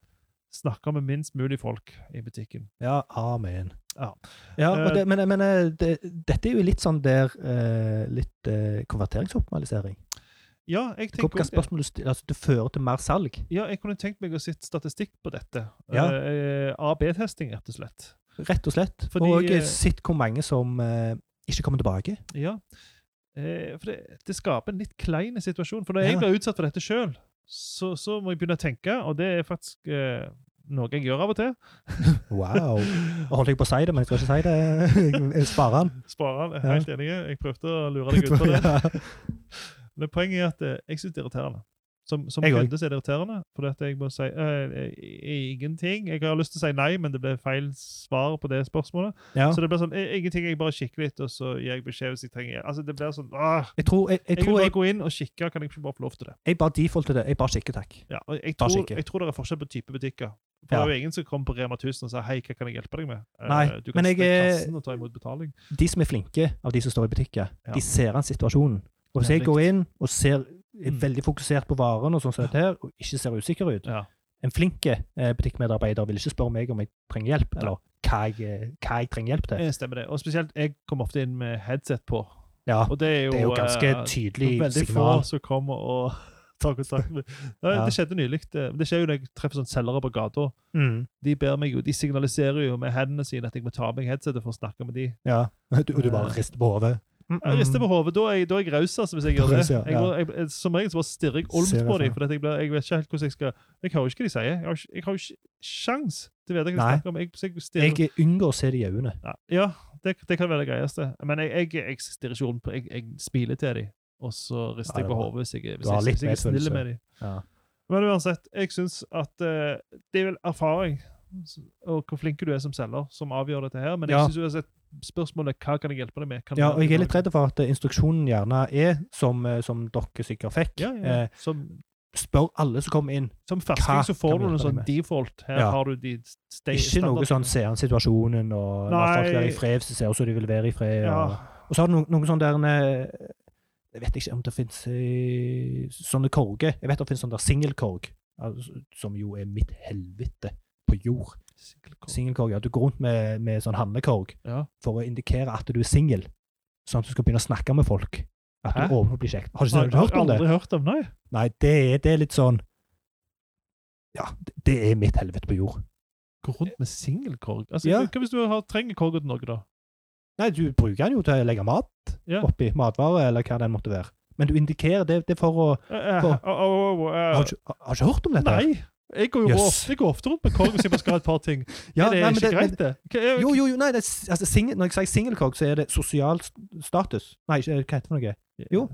A: snakke med minst mulig folk i butikken.
B: Ja, amen.
A: Ja.
B: Ja, og
A: Eh,
B: det, men men eh, det, dette er jo litt sånn der eh, Litt eh, konverteringsoptimalisering.
A: Ja, jeg
B: Hvor-
A: tenker
B: Hva
A: også det.
B: spørsmål du stiller, altså det fører til mer salg.
A: Ja, jeg kunne tenkt meg å sitte statistikk på dette.
B: Ja.
A: Eh, A-B-testing, rett og slett.
B: Rett og slett.
A: Fordi-
B: og eh, sett hvor mange som eh, ikke kommer tilbake.
A: Ja. Eh, for det, det skaper en litt klein situasjon. For når
B: Ja.
A: jeg blir utsatt for dette sjøl, så, så må jeg begynne å tenke, og det er faktisk eh, noe jeg gjør av og til.
B: Wow. Jeg holdt ikke på å si det, men jeg skal ikke si det. Jeg sparer den.
A: Spareren er
B: Ja.
A: helt enig. Jeg prøvde å lure deg ut på det. Men poenget er at eh, jeg syns det er irriterende. Som, som
B: Jeg
A: kunde så er det irriterende, fordi at jeg må si eh, i- ingenting. Jeg har lyst til å si nei, men det ble feil svar på det spørsmålet.
B: Ja.
A: Så det blir sånn eh, ingenting, jeg bare kikker litt, og så gir jeg beskjed hvis jeg trenger hjelp. Altså, det blir sånn ah,
B: Jeg tror jeg, jeg,
A: Jeg vil
B: tror
A: bare
B: jeg,
A: gå inn og kikke, kan jeg ikke bare få lov til det?
B: jeg bare defaulter det. Jeg bare kikker, takk.
A: Ja, og jeg,
B: Bare
A: tror,
B: kikke.
A: jeg tror det er forskjell på type butikker. For
B: Ja.
A: Det er jo ingen som kommer på Rema 1000 og sier 'hei, hva kan jeg hjelpe deg med?' Eh,
B: Nei,
A: du kan
B: men jeg eh,
A: stikke i
B: er-
A: kassen og ta imot betaling.
B: De som er flinke av de som står i butikker,
A: Ja.
B: de ser an situasjonen. Og hvis jeg
A: Nemlig.
B: går inn og ser, er
A: Mm.
B: veldig fokusert på varen og sånn som dette her, og ikke ser usikker ut
A: Ja.
B: En flink eh, butikkmedarbeider vil ikke spørre meg om jeg trenger hjelp, eller hva jeg, eh, hva jeg trenger hjelp til.
A: Eh, Stemmer det. Og spesielt, jeg kommer ofte inn med headset på.
B: Ja,
A: Og det er jo,
B: det er jo ganske
A: eh,
B: tydelig
A: veldig
B: signal.
A: få som kommer og tar kontakt med Nei,
B: Ja.
A: Det skjedde nylig. Det, det skjer jo når jeg treffer sånne selgere på gata.
B: Mm,
A: De ber meg jo, de signaliserer jo med hendene sine at jeg må ta av meg headsetet for å snakke med de.
B: ja. Du, og du bare rister på hodet. Mm,
A: Jeg Eh, rister på hodet. Da er jeg, da er jeg raus, altså, hvis jeg gjør det.
B: Raus, ja,
A: Jeg,
B: ja.
A: går- jeg, jeg, som regel så bare stirrer jeg olmt
B: Ser det
A: på
B: for
A: dem.
B: meg.
A: For jeg, blir, jeg vet ikke helt hvordan jeg skal Jeg hører jo ikke hva de sier. Jeg har, ikke- jeg har jo ikke sjans til å vite hva de
B: Nei.
A: snakker om. Jeg, så jeg stirrer,
B: Jeg unngår å se det i øynene.
A: ja, ja det, det kan være det greieste. Men jeg, jeg, jeg stirrer ikke olmt på Jeg, jeg smiler til dem, og så rister jeg på
B: Ja, det er bra.
A: hodet hvis jeg, hvis
B: Du har
A: jeg,
B: litt
A: hvis jeg er snill
B: medfølelse.
A: med dem.
B: Ja.
A: Men uansett, jeg syns at eh, det er vel erfaring og hvor flink du er som selger, som avgjør dette her. Men jeg
B: Ja.
A: synes uansett spørsmålet hva kan jeg hjelpe deg med? Kan
B: Ja, og
A: hjelpe
B: jeg er
A: deg
B: litt
A: med
B: redd for at eh, instruksjonen gjerne er, som, eh, som dere sikkert fikk,
A: noe? Ja, ja.
B: eh,
A: Som
B: spør alle som kommer inn.
A: Som
B: Hva
A: fersking så får
B: kan vi
A: du noe
B: hjelpe deg
A: sånn
B: med?
A: default. Her
B: Ja.
A: har du de sta-
B: Ikke noe
A: standard-
B: sånn se an situasjonen og la folk
A: Nei.
B: være i fred hvis de ser ut som de vil være i fred.
A: ja.
B: Og, og så har du noen, noen sånne der eh, Jeg vet ikke om det finnes eh, sånne korger. Jeg vet det finnes sånn der singelkorg, altså, som jo er mitt helvete på jord. Singelkorg, ja. Du går rundt med, med sånn handlekorg
A: ja.
B: for å indikere at du er singel, sånn at du skal begynne å snakke med folk. At
A: Hæ?
B: du åpner og blir kjekt. Har du,
A: Har
B: har du hørt om det?
A: aldri hørt om, nei.
B: Nei, det er, det er litt sånn Ja, det- det er mitt helvete på jord.
A: Gå rundt med singelkorg. Altså,
B: Ja.
A: Hva hvis du har, trenger korga til noe, da?
B: Nei, du bruker den jo til å legge mat
A: Ja.
B: oppi. Matvare, eller hva den måtte være. Men du indikerer det, det er for å
A: Eh, eh,
B: Hva?
A: au, au, au, au,
B: Har du ikke, har du ikke hørt om dette? her?
A: Nei! Jeg går jo
B: Jøss.
A: ofte, jeg går ofte rundt med korg hvis jeg bare skal ha et par ting.
B: Ja,
A: er det
B: nei, men
A: ikke
B: det-
A: greit, det? Hva er-
B: men- Jo, jo, jo, nei, det er, s- altså, single, når jeg sier singelkokk, så er det sosial s- status. Nei, ikke, hva heter det for noe? jo.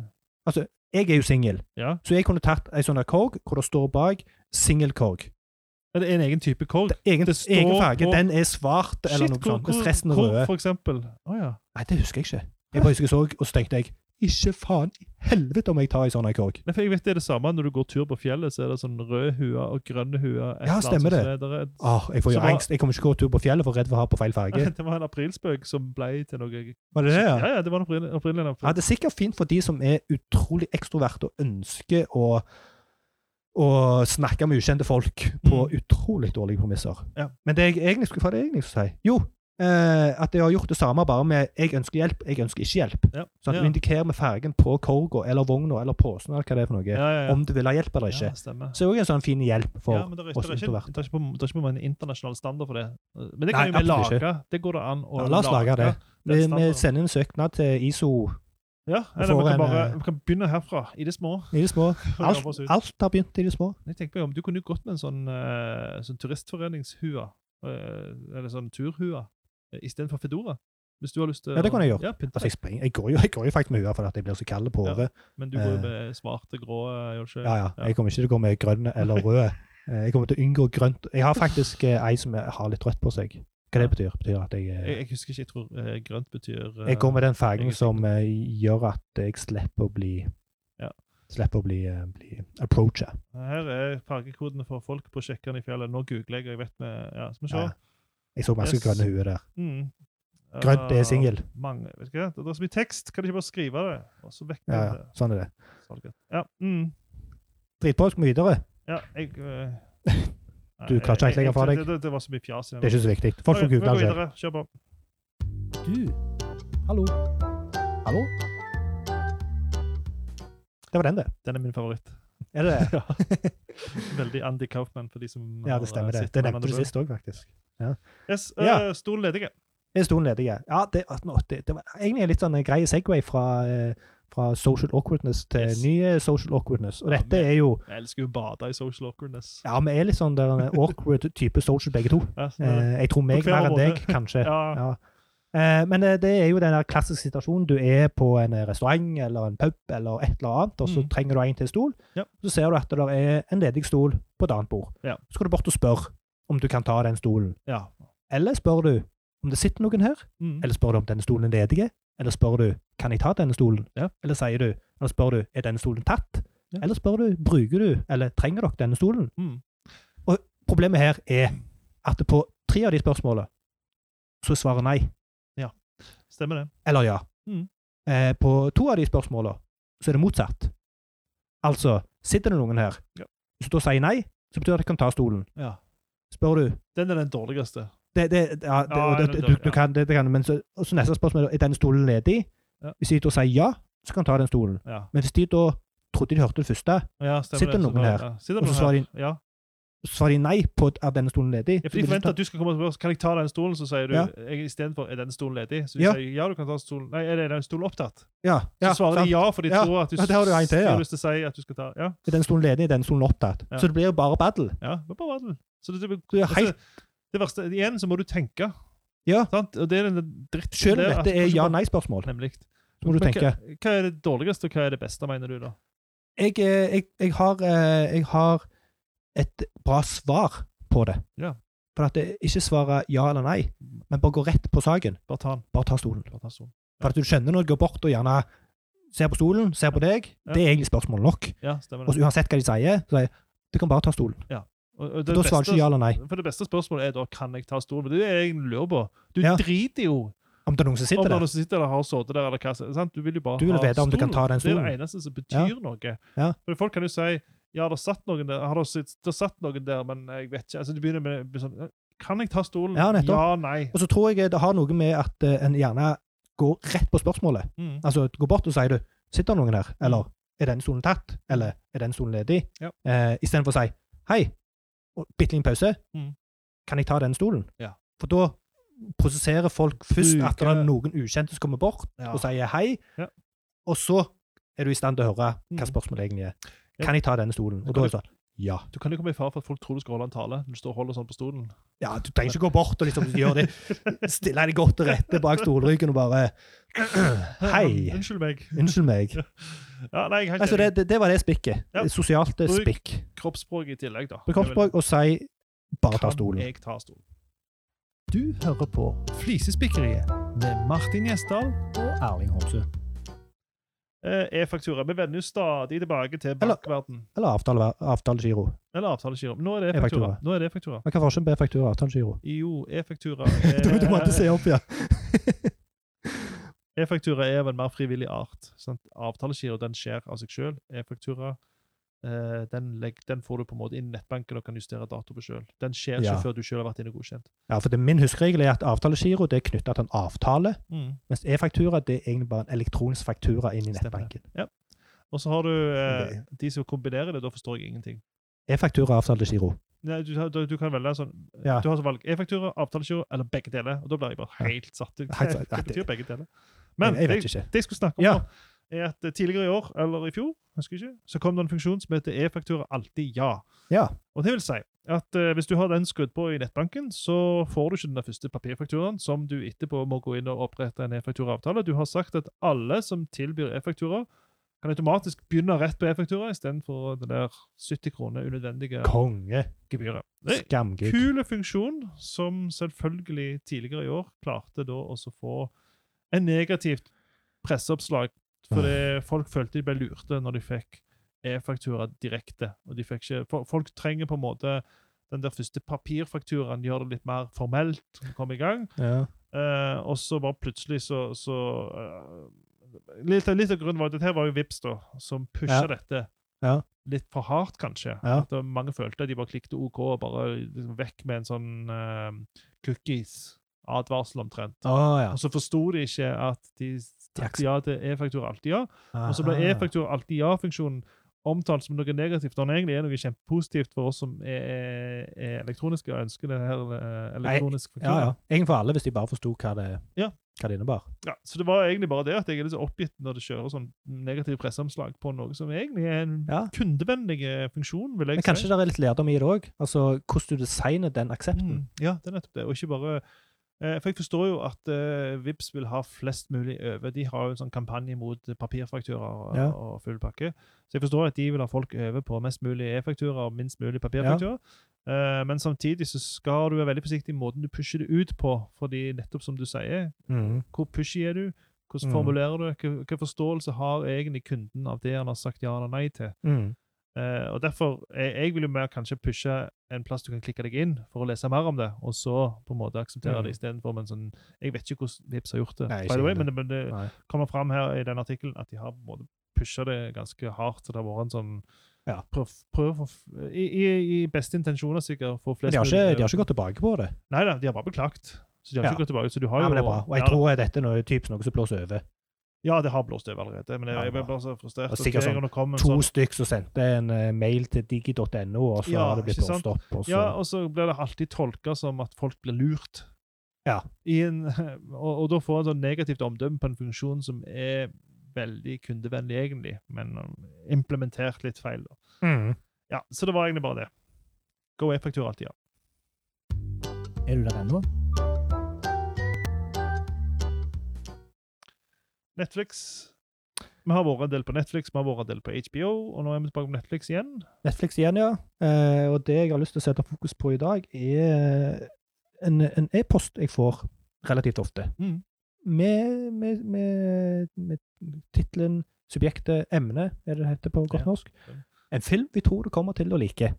B: Altså, jeg er jo singel,
A: Ja.
B: så jeg kunne tatt ei sånn der korg hvor det står bak singelkorg.
A: Er det en egen type korg?
B: Egen,
A: Det står
B: egen farge.
A: på-
B: Den er svart eller noe
A: Shit, hvor,
B: sånt, mens resten er
A: hvor,
B: rød.
A: for eksempel? Å ja.
B: Nei, det husker jeg ikke. Jeg bare husker jeg så, og så tenkte jeg ikke faen i helvete om jeg tar ei sånn ei korg.
A: Nei, for jeg vet det er det samme når du går tur på fjellet, så er det sånn røde huer og grønne huer. et
B: Ja,
A: eller annet
B: stemmer
A: som er der.
B: Åh, jeg får jo
A: Så da-
B: angst. Jeg kommer ikke til å gå tur på fjellet for redd for å ha på feil farge.
A: Det var en aprilspøk som ble til noe
B: Var det det, ja?
A: Ja, ja, det var en april, april, en april.
B: Ja, det er sikkert fint for de som er utrolig ekstroverte og ønsker å, å snakke med ukjente folk på
A: Mm.
B: utrolig dårlige premisser.
A: Ja.
B: Men det jeg egentlig skulle, hva var det jeg egentlig skulle si Jo, eh, at jeg har gjort det samme, bare med 'jeg ønsker hjelp', 'jeg ønsker ikke hjelp'.
A: Ja.
B: Sånn,
A: ja.
B: Du indikerer med fargen på korga eller vogna eller posen eller hva det er for noe,
A: ja, ja, ja.
B: om du vil ha hjelp eller ikke.
A: Ja, stemmer.
B: Så det er òg en sånn fin hjelp for
A: ja, men det er,
B: oss
A: det er ikke,
B: introverte.
A: det er ikke, på, det er ikke på en internasjonal standard for det. Men det
B: Nei,
A: kan jo vi
B: absolutt
A: lage. Det går det an å
B: Ja, la oss lage det.
A: den
B: Vi, vi
A: standarden.
B: sender en søknad til ISO
A: Ja,
B: Vi
A: eller
B: får
A: vi, kan
B: en,
A: bare,
B: eh,
A: vi kan begynne herfra, i det små.
B: i det små.
A: og
B: Alt,
A: jobbe oss ut.
B: alt har begynt i det små.
A: Jeg tenker meg om, Du kunne jo gått med en sånn, eh, sånn turistforeningshue, eh, eller sånn turhue, eh, istedenfor Fedora. Hvis du har lyst til
B: Ja, det kunne jeg gjort.
A: Ja, pynte
B: Altså,
A: deg.
B: jeg, springer, jeg, går jo, jeg går jo faktisk med hua fordi jeg blir så kald på
A: Ja.
B: hodet.
A: Men du går jo med svarte, grå eh, gjør du ikke?
B: Ja, ja. Jeg kommer ikke til å gå med grønn eller rød. Eh, Jeg kommer til å unngå grønt. Jeg har faktisk eh, ei som har litt rødt på seg. Hva det betyr? betyr at jeg,
A: Jeg,
B: eh,
A: jeg husker ikke. Jeg tror eh, grønt betyr eh,
B: jeg går med den
A: jeg er
B: fargen
A: sikker.
B: som eh, gjør at jeg slipper å bli
A: Ja.
B: Slipper å bli, eh, bli approacha.
A: Her er fargekodene for folk på sjekkerne i fjellet. Nå googler jeg, og jeg vet vi Ja, skal vi se.
B: Ja. Jeg så masse
A: Yes.
B: grønne huer der.
A: Mm.
B: Grønt er
A: Eh,
B: singel.
A: Mange, vet ikke, det er så mye tekst, kan de ikke bare skrive det? Og så vekker
B: Ja, ja.
A: det
B: Sånn er det.
A: salget. Ja, mm,
B: Dritbra. Skal vi videre?
A: ja jeg øh, nei,
B: Du klarer ikke
A: jeg-
B: helt legge fra
A: jeg-
B: deg.
A: Det, det var så mye fjas i
B: Det er ikke så viktig. Folk får google det selv.
A: Kjør på.
B: Du. Hallo. Hallo? Det var den, det.
A: Den er min favoritt.
B: Er det det?
A: Veldig Andy Kaufman for de som
B: Ja,
A: har,
B: det stemmer
A: eh,
B: det.
A: sett
B: Det
A: på
B: nevnte du
A: Another
B: sist òg, faktisk.
A: Bird. Yes,
B: Ja.
A: øh, Stol ledige.
B: Det er stolen ledig. ja. Ja, det, 1880. det var egentlig en litt sånn grei Segway fra, eh, fra social awkwardness til
A: Yes.
B: ny eh, social awkwardness. Og
A: Ja,
B: dette
A: men-
B: er jo
A: Jeg elsker jo å bade i social awkwardness.
B: Ja, vi er litt sånn der en awkward type social begge to.
A: Ja, så-
B: Eh, jeg tror meg
A: hver
B: mer enn
A: måte.
B: deg, kanskje.
A: ja,
B: Ja. Eh, men eh, det er jo den der klassiske situasjonen. Du er på en eh, restaurant eller en pub eller et eller annet, og så
A: Mm.
B: trenger du en til stol.
A: Ja.
B: Så ser du at det der er en ledig stol på et annet bord.
A: Ja.
B: Så går du bort og spør om du kan ta den stolen.
A: ja.
B: Eller spør du om det sitter noen her,
A: Mm.
B: eller spør du om denne stolen er ledig, eller spør du kan jeg ta denne stolen,
A: Ja.
B: eller sier du eller spør du er denne stolen tatt,
A: Ja.
B: eller spør du bruker du eller trenger dere denne stolen.
A: Mm.
B: Og problemet her er at på tre av de spørsmålene så er svaret nei.
A: Stemmer det.
B: Eller ja.
A: Mm.
B: Eh, på to av de spørsmåla så er det motsatt. Altså, sitter det noen her?
A: Ja.
B: Hvis du da sier nei, så betyr det at jeg kan ta stolen.
A: Ja.
B: Spør du
A: Den er den dårligste.
B: det, det, ja, det,
A: Ja,
B: og det,
A: det-
B: du, du
A: ja.
B: kan, det, det kan, men så, og så neste spørsmål er er denne stolen ledig.
A: Ja.
B: Hvis de da sier ja, så kan de ta den stolen.
A: Ja.
B: Men hvis de da trodde de hørte det første,
A: Ja, stemmer
B: Sitter
A: det. Så
B: noen
A: da-
B: her?
A: Ja. Sitter
B: og
A: noen
B: så
A: her?
B: svarer de,
A: Ja.
B: så svarer de nei på at er denne stolen ledig
A: Ja,
B: så
A: for De
B: vil de
A: forventer
B: ta-
A: at du skal komme og spørre kan jeg ta den stolen, så sier du
B: Ja.
A: jeg istedenfor er den stolen ledig. Så de
B: Ja.
A: sier ja, du kan ta stolen. Nei, er det- er den stolen opptatt?
B: ja,
A: Så
B: ja,
A: svarer
B: sant.
A: de ja, for de
B: Ja,
A: tror at du,
B: ja, det har du en til,
A: de
B: ja.
A: har lyst til å si at du skal ta Ja,
B: Er denne stolen ledig? Er denne stolen opptatt?
A: Ja.
B: Så det blir jo bare battle.
A: ja men på verden. Så det, det, altså,
B: Det er helt
A: det verste Igjen så må du tenke.
B: Ja.
A: Sant? Og det er den dritten
B: Selv om
A: der at
B: dette
A: du
B: er
A: ikke bare-
B: ja-nei-spørsmål,
A: Nemlig.
B: så må du
A: Men
B: tenke
A: Hva, hva er det dårligste, og hva er det beste, mener du, da?
B: jeg, eh, jeg, jeg, har, eh, jeg har et bra svar på det.
A: Ja.
B: For at det ikke svare ja eller nei, men bare gå rett på saken.
A: Bare ta den.
B: Bare ta stolen.
A: Bare ta stolen.
B: For at du skjønner når du går bort og gjerne ser på stolen, ser på deg.
A: Ja.
B: Det er egentlig spørsmål nok.
A: Ja, stemmer
B: Og
A: det.
B: så uansett hva de sier, så sier jeg, du kan bare ta stolen.
A: Og, og det
B: Da svarer du
A: beste-
B: ikke ja eller nei.
A: For det beste spørsmålet er da kan jeg ta stolen. Men Det er det jeg lurer på. Du
B: Ja.
A: driter jo
B: Om det er noen som
A: Om
B: sitter
A: det er
B: der.
A: noen som sitter der og har sittet der, eller hva som- sant? Du vil jo bare
B: Du vil
A: ha
B: vite om du kan ta
A: Det
B: den
A: er
B: stolen.
A: det eneste som betyr noe.
B: Ja.
A: For folk kan jo si ja, det satt noen der, har det sitt- det satt noen der, men jeg vet ikke. Altså, du begynner med med sånn Kan jeg ta stolen?
B: Ja, nettopp.
A: nei.
B: Og så tror jeg det har noe med at eh, en gjerne går rett på spørsmålet.
A: Mm.
B: Altså, gå bort og sier du, sitter det noen her? Eller, er den stolen tatt? Eller, er den stolen ledig?
A: Ja.
B: Eh, Istedenfor å si, hei, og bitte liten pause,
A: Mm.
B: kan jeg ta den stolen?
A: Ja.
B: For da prosesserer folk først at det
A: Bruker-
B: er noen ukjente som kommer bort
A: Ja.
B: og sier hei,
A: Ja.
B: og så er du i stand til å høre hva
A: Mm.
B: spørsmålet egentlig er.
A: Ja.
B: Kan jeg ta denne stolen?
A: Kan
B: Og da er
A: du-
B: det sånn, ja.
A: Du kan jo komme i fare for at folk tror du skal holde en tale når du står og holder sånn på stolen.
B: Ja, du trenger ikke gå bort og liksom gjøre det. Stille deg godt til rette bak stolryggen og bare Hei.
A: Unnskyld meg.
B: Unnskyld meg.
A: Ja, nei, jeg har ikke
B: Altså, det, det, det var det spikket.
A: Ja.
B: Det Sosialt eh,
A: Bruk-
B: spikk.
A: kroppsspråk i tillegg, da.
B: Bruk kroppsspråk og si bare ta stolen.
A: Kan jeg ta stolen? Du hører på Flisespikkeriet med Martin Gjesdal
B: Og Erling Homsø.
A: eh, e-faktura. Vi vender jo stadig tilbake til
B: Eller-
A: bankverden.
B: Eller avtale, avtalegiro.
A: Eller avtalegiro. Nå er det
B: E-faktura.
A: e-faktura. Nå er det e-faktura.
B: Men hva er forskjellen på e-faktura og avtalegiro?
A: Jo, e-faktura
B: Du, du måtte
A: er-
B: se opp, ja.
A: E-faktura er av en mer frivillig art. Sant? Avtalegiro den skjer av seg sjøl. E-faktura eh, den, legg, den får du på en måte inn i nettbanken og kan justere dato på sjøl. Den skjer
B: Ja.
A: ikke før du sjøl har vært inne og godkjent.
B: Ja, for det, Min huskeregel er at avtalegiro det er knytta til en avtale,
A: Mm.
B: mens e-faktura det er egentlig bare en elektronisk faktura inn i
A: Stemmer.
B: nettbanken.
A: Og så har du eh,
B: Ok.
A: de som kombinerer det. Da forstår jeg ingenting.
B: E-faktura, avtalegiro.
A: Nei, du, har- du, du kan velge sånn
B: Ja.
A: Du har så valg e-faktura, avtalegiro eller begge deler. Og da blir jeg bare helt satt ut.
B: Helt satt.
A: Hva
B: Nei,
A: betyr
B: det-
A: begge deler? Men
B: jeg, jeg
A: det,
B: vet ikke.
A: det jeg skulle snakke om
B: Ja.
A: nå, er at eh, tidligere i år, eller i fjor, husker jeg ikke, så kom det en funksjon som heter e-faktura alltid ja.
B: Ja.
A: Og det vil si at eh, hvis du har den skrudd på i nettbanken, så får du ikke den der første papirfakturaen som du etterpå må gå inn og opprette en e-fakturaavtale. Du har sagt at alle som tilbyr e-faktura, kan automatisk begynne rett på e-faktura istedenfor det der 70 kroner unødvendige
B: Konge.
A: gebyret. Det er
B: Skamgud.
A: Kule funksjon, som selvfølgelig tidligere i år klarte da også å få en negativt presseoppslag, fordi folk følte de ble lurte når de fikk e-faktura direkte. og de fikk ikke, fol- Folk trenger på en måte den der første papirfakturaen, gjør det litt mer formelt, komme i gang.
B: Ja.
A: Eh, og så bare plutselig så, så eh, litt, av- litt av grunnen var at dette her var jo Vips da, som pusha
B: Ja.
A: dette
B: Ja.
A: litt for hardt, kanskje.
B: Ja.
A: At det, var mange følte at de bare klikket OK og bare liksom vekk med en sånn eh, cookies-advarsel omtrent.
B: Å ja.
A: Og så forsto de ikke at de
B: Takk.
A: takket ja til e-faktura alltid ja.
B: Ah.
A: Og så ble
B: Aha.
A: e-faktura alltid ja-funksjonen omtalt som noe negativt, når det egentlig er noe kjempepositivt for oss som er, er, er elektroniske og ønsker det her eh,
B: Nei,
A: elektronisk faktura.
B: Ja, ja. Egentlig for alle, hvis de bare forsto hva, det-
A: Ja.
B: hva det innebar.
A: Ja, så det var egentlig bare det at jeg er litt så oppgitt når det kjører sånn negative presseomslag på noe som egentlig er en
B: Ja.
A: kundevennlig eh, funksjon, vil jeg
B: Men kanskje
A: si.
B: det er litt lærdom i det òg? Altså, hvordan du designer den aksepten?
A: Mm, ja, det er nettopp det. Og ikke bare eh, For jeg forstår jo at eh, Vips vil ha flest mulig over. De har jo en sånn kampanje mot papirfakturer og,
B: Ja.
A: og full pakke. Så jeg forstår at de vil ha folk over på mest mulig e-fakturer og minst mulig papirfakturer. Eh, men samtidig så skal du være veldig forsiktig i måten du pusher det ut på, fordi nettopp som du sier,
B: Mhm.
A: Hvor pushy er du? Hvordan
B: Mm.
A: formulerer du? Hva, hva forståelse har egentlig kunden av det han har sagt ja eller nei til?
B: Mhm.
A: Eh, og derfor, jeg, jeg vil jo mer kanskje pushe en plass du kan klikke deg inn for å lese mer om det, og så på en måte akseptere
B: Mm.
A: det istedenfor med en sånn Jeg vet ikke hvordan Vipps har gjort det,
B: Nei,
A: by
B: ikke
A: the way,
B: heller.
A: men det, men det
B: Nei.
A: kommer fram her i den artikkelen at de har på en måte pusha det ganske hardt. Så det har vært en sånn
B: Ja.
A: prøv, prøv å f- i, i, I beste intensjoner, sikkert. For flest
B: Men de har,
A: mulig-
B: ikke, de har ikke gått tilbake på det.
A: Nei da, de har bare beklagt. Så de har
B: Ja.
A: ikke gått tilbake. Så du har
B: Ja,
A: jo
B: men det er bra. Og jeg
A: Ja,
B: tror dette er noe, typisk noe som blåser over.
A: Ja, det har blåst over allerede, men jeg,
B: Ja,
A: jeg ble
B: bra.
A: bare så frustrert.
B: Og
A: at
B: sikkert
A: hver
B: sånn
A: gang det kom en
B: To
A: sånn-
B: stykk som sendte en eh, mail til digi.no, og så
A: Ja,
B: har det blitt
A: ikke sant?
B: blåst opp. Og så.
A: Ja, og så blir det alltid tolka som at folk blir lurt.
B: Ja.
A: I en, og, og da får en sånn negativt omdømme på en funksjon som er veldig kundevennlig, egentlig, men um, implementert litt feil. da.
B: Mhm.
A: Ja, Så det var egentlig bare det. Go e-faktura alltid, ja.
B: Er du der ennå?
A: Netflix. Vi har vært en del på Netflix, vi har vært en del på HBO, og nå er vi tilbake på Netflix igjen.
B: Netflix igjen, ja. Eh, og det jeg har lyst til å sette fokus på i dag, er en en e-post jeg får relativt ofte.
A: Mm.
B: Med, med, med, med tittelen, subjektet, emne, er det det heter på godt
A: Ja.
B: norsk. En film vi tror du kommer til å like.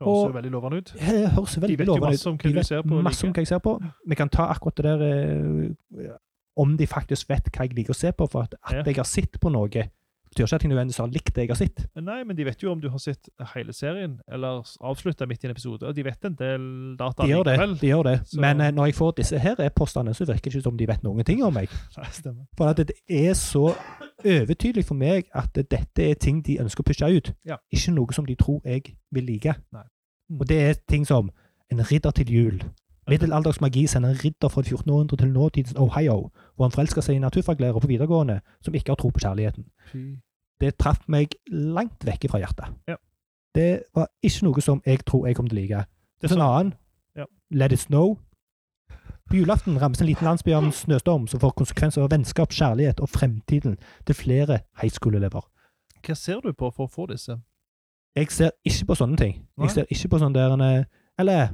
A: Høres
B: Og-
A: jo veldig lovende ut.
B: Det høres veldig
A: vet jo
B: lovende
A: masse om hva
B: De
A: du
B: vet
A: ser på og
B: Masse om
A: liker.
B: hva jeg ser på. Vi kan ta akkurat det der eh, Om de faktisk vet hva jeg liker å se på. For at, at
A: Ja.
B: jeg har sett på noe, betyr ikke at jeg nødvendigvis har likt det jeg har sett.
A: Nei, men de vet jo om du har sett hele serien, eller avslutta midt i en episode. Og de vet en del data
B: De gjør det.
A: likevel.
B: De gjør det.
A: Så-
B: Men eh, når jeg får disse her e-postene, så virker det ikke som de vet noen ting om meg.
A: Nei, stemmer.
B: For at det er så overtydelig for meg at dette er ting de ønsker å pushe ut.
A: Ja.
B: Ikke noe som de tror jeg vil like.
A: Nei.
B: Og det er ting som en ridder til jul. Middelaldersk magi sender en ridder fra 1400 til nåtidens Ohio, hvor han forelsker seg i naturfaglærer på videregående som ikke har tro på kjærligheten. Det traff meg langt vekke fra hjertet.
A: Ja.
B: Det var ikke noe som jeg tror jeg kommer til å like.
A: Det sånn.
B: Det er en annen.
A: Ja.
B: Let it snow. På julaften rammes en liten landsby av en snøstorm som får konsekvenser for vennskap, kjærlighet og fremtiden til flere high school-elever.
A: Hva ser du på for å få disse?
B: Jeg ser ikke på sånne ting.
A: Nei.
B: Jeg ser ikke på sånne der eh, Eller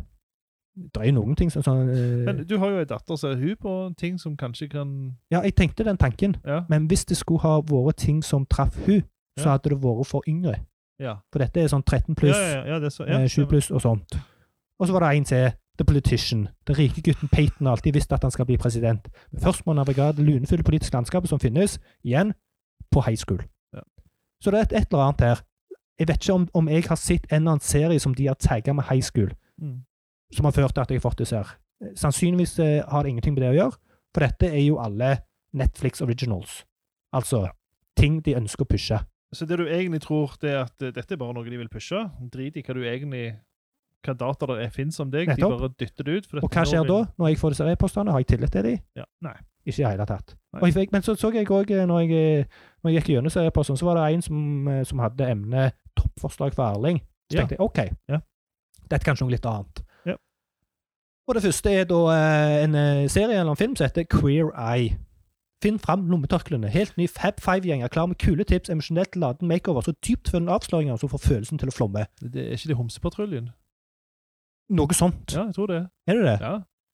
B: det er jo noen ting som sånn eh,
A: Men du har jo ei datter, ser hun på ting som kanskje kan
B: Ja, jeg tenkte den tanken,
A: Ja.
B: men hvis det skulle ha vært ting som traff hun, så
A: Ja.
B: hadde det vært for yngre.
A: Ja,
B: For dette er sånn 13 pluss.
A: ja, ja, ja, det er så, ja,
B: eh, 7 pluss og sånt. Og så var det en til. The Politician. Den rike gutten Peyton har alltid visst at han skal bli president. Men først må han navigere det lunefulle politiske landskapet som finnes, igjen, på high school.
A: Ja.
B: Så det er et, et eller annet her. Jeg vet ikke om, om jeg har sett en eller annen serie som de har tagga med high school,
A: Mm.
B: som har ført til at jeg har fått disse her. Eh, Sannsynligvis eh, har det ingenting med det å gjøre, for dette er jo alle Netflix originals. Altså ting de ønsker å pushe.
A: Så det du egentlig tror, det er at eh, dette er bare noe de vil pushe? Drit i hva du egentlig hva data det fins om deg, de
B: Nettopp.
A: bare dytter det ut? for dette
B: Og hva
A: nå
B: skjer da,
A: vil-
B: når jeg får disse e-postene? Har jeg tillit til dem?
A: Ja, nei.
B: Ikke i det hele tatt.
A: Nei.
B: Og jeg, fikk- men så så jeg òg, når, jeg- når jeg gikk gjennom disse e-postene, så var det en som, eh, som hadde emnet 'toppforslag for Erling'. Så
A: Ja.
B: tenkte jeg OK,
A: Ja.
B: dette er kanskje noe litt annet.
A: Ja.
B: Og det første er da eh, en eh, serie eller en film som heter Queer Eye. Finn fram lommetørklærne. Helt ny Fab Five-gjeng er klar med kule tips, emosjonelt laden makeover, så dypt funnet avsløringer som får følelsen til å flomme.
A: Det er ikke det Homsepatruljen?
B: Noe sånt.
A: Ja, jeg tror det.
B: Er det det?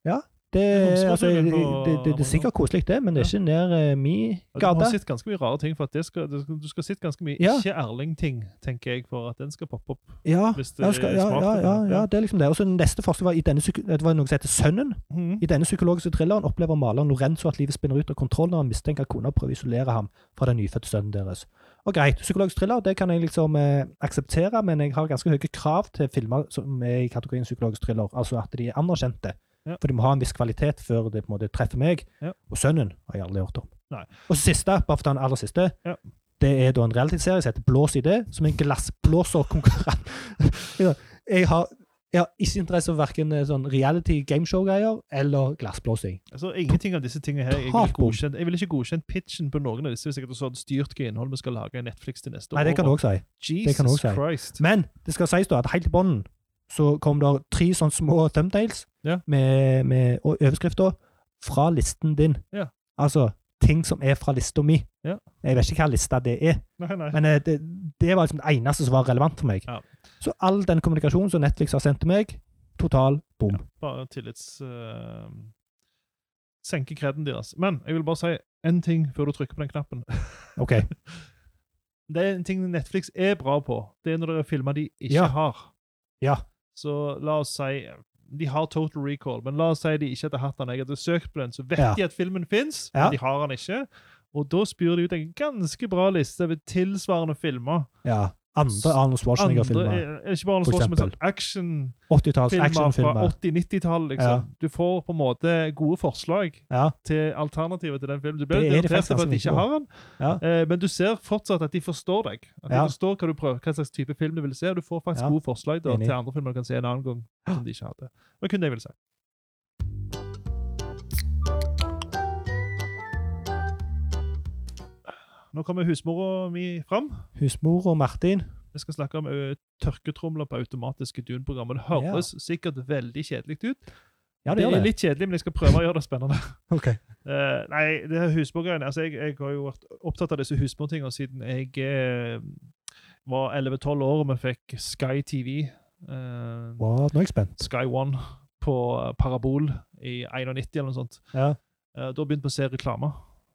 A: Ja.
B: Det,
A: Det er
B: altså, det,
A: Homsepatrullen
B: det,
A: på
B: det, det er sikkert koselig, det, men det er ikke nær eh, mi
A: Ja, Du
B: gate.
A: har sett ganske mye rare ting. for at det skal, du skal- Du skal sett ganske mye
B: Ja.
A: ikke-Erling-ting, tenker jeg, for at den skal poppe opp.
B: Ja,
A: Hvis det
B: ja, skal,
A: er
B: ja,
A: smart,
B: ja,
A: det,
B: ja,
A: ja.
B: ja, det er liksom det. Og så den neste forskning var i denne, psyko- det var noe som heter Sønnen.
A: Mhm.
B: I denne psykologiske thrilleren opplever maleren Lorenzo at livet spinner ut av kontroll når han mistenker at kona prøver å isolere ham fra den nyfødte sønnen deres. Og greit, psykologisk thriller det kan jeg liksom eh, akseptere, men jeg har ganske høye krav til filmer som er i kategorien psykologisk thriller, altså at de er anerkjente.
A: Ja.
B: For de må ha en viss kvalitet før det på en måte treffer meg.
A: Ja.
B: Og sønnen har jeg aldri hørt om.
A: Nei.
B: Og siste, bare for å ta den aller siste,
A: Ja.
B: det er da en realityserie som heter Blås i det, som er en glassblåserkonkurranse. jeg har jeg har ikke interesse for verken sånn reality gameshow-greier eller glassblåsing.
A: Altså, Ingenting av disse tingene her. Jeg ville
B: Totalt bom.
A: godkjent, jeg vil ikke godkjent pitchen på noen av disse hvis jeg hadde så styrt hva innhold vi skal lage i Netflix til neste
B: Nei, det kan du
A: år.
B: òg si.
A: Jesus
B: kan du også si.
A: Christ.
B: Men det skal sies da at helt i bunnen så kom det tre sånne små thumbtails
A: Ja.
B: med, med og overskrifter fra listen din.
A: Ja.
B: Altså ting som er fra lista mi.
A: Ja.
B: Jeg vet ikke hva lista det er,
A: Nei, nei.
B: men eh, det, det var liksom det eneste som var relevant for meg.
A: Ja.
B: Så all den kommunikasjonen som Netflix har sendt til meg, total bom.
A: Bare tillits... eh, senke kreden deres. Men jeg vil bare si én ting før du trykker på den knappen.
B: OK.
A: Det er en ting Netflix er bra på. Det er når det er filmer de ikke
B: Ja.
A: har.
B: Ja.
A: Så la oss si De har Total Recall, men la oss si de ikke hadde hatt den. Jeg hadde søkt på den, så vet
B: Ja.
A: de at filmen fins,
B: Ja.
A: men de har den ikke. Og da spyr de ut en ganske bra liste ved tilsvarende filmer.
B: Ja. Andre Arnold
A: Andre
B: Schwarzenegger-filmer.
A: er, er ikke bare
B: for
A: noe sånt, men sånn
B: eksempel.
A: actionfilmer
B: 80-talls
A: fra
B: actionfilmer.
A: 80-90-tallet. Liksom. Du får på en måte gode forslag
B: Ja.
A: til alternativet til den filmen. Du
B: Det
A: blir
B: er det
A: irritert
B: faktisk
A: over at de
B: ganske
A: ikke har den,
B: Ja.
A: eh, men du ser fortsatt at de forstår deg. At de
B: Ja.
A: forstår hva du prøver, hva slags type film du vil se, og du får faktisk
B: Ja.
A: gode forslag da,
B: Enig.
A: til andre filmer du kan se en annen gang. som de ikke hadde. Det var kun det jeg ville si. Nå kommer husmora mi fram.
B: Husmor og Martin.
A: Vi skal snakke om ø, tørketromler på automatiske dunprogrammer. Det høres sikkert veldig kjedelig ut.
B: Ja,
A: Det
B: det gjør
A: er
B: det.
A: litt kjedelig, men jeg skal prøve å gjøre det spennende.
B: Ok.
A: Eh, nei, det her husmorgreiene altså jeg, jeg har jo vært opptatt av disse husmortingene siden jeg eh, var 11-12 år og vi fikk Sky TV, eh,
B: Wow, nå er jeg spent.
A: Sky One, på Parabol i 91 eller noe sånt.
B: Ja.
A: Eh, da begynte vi å se reklame.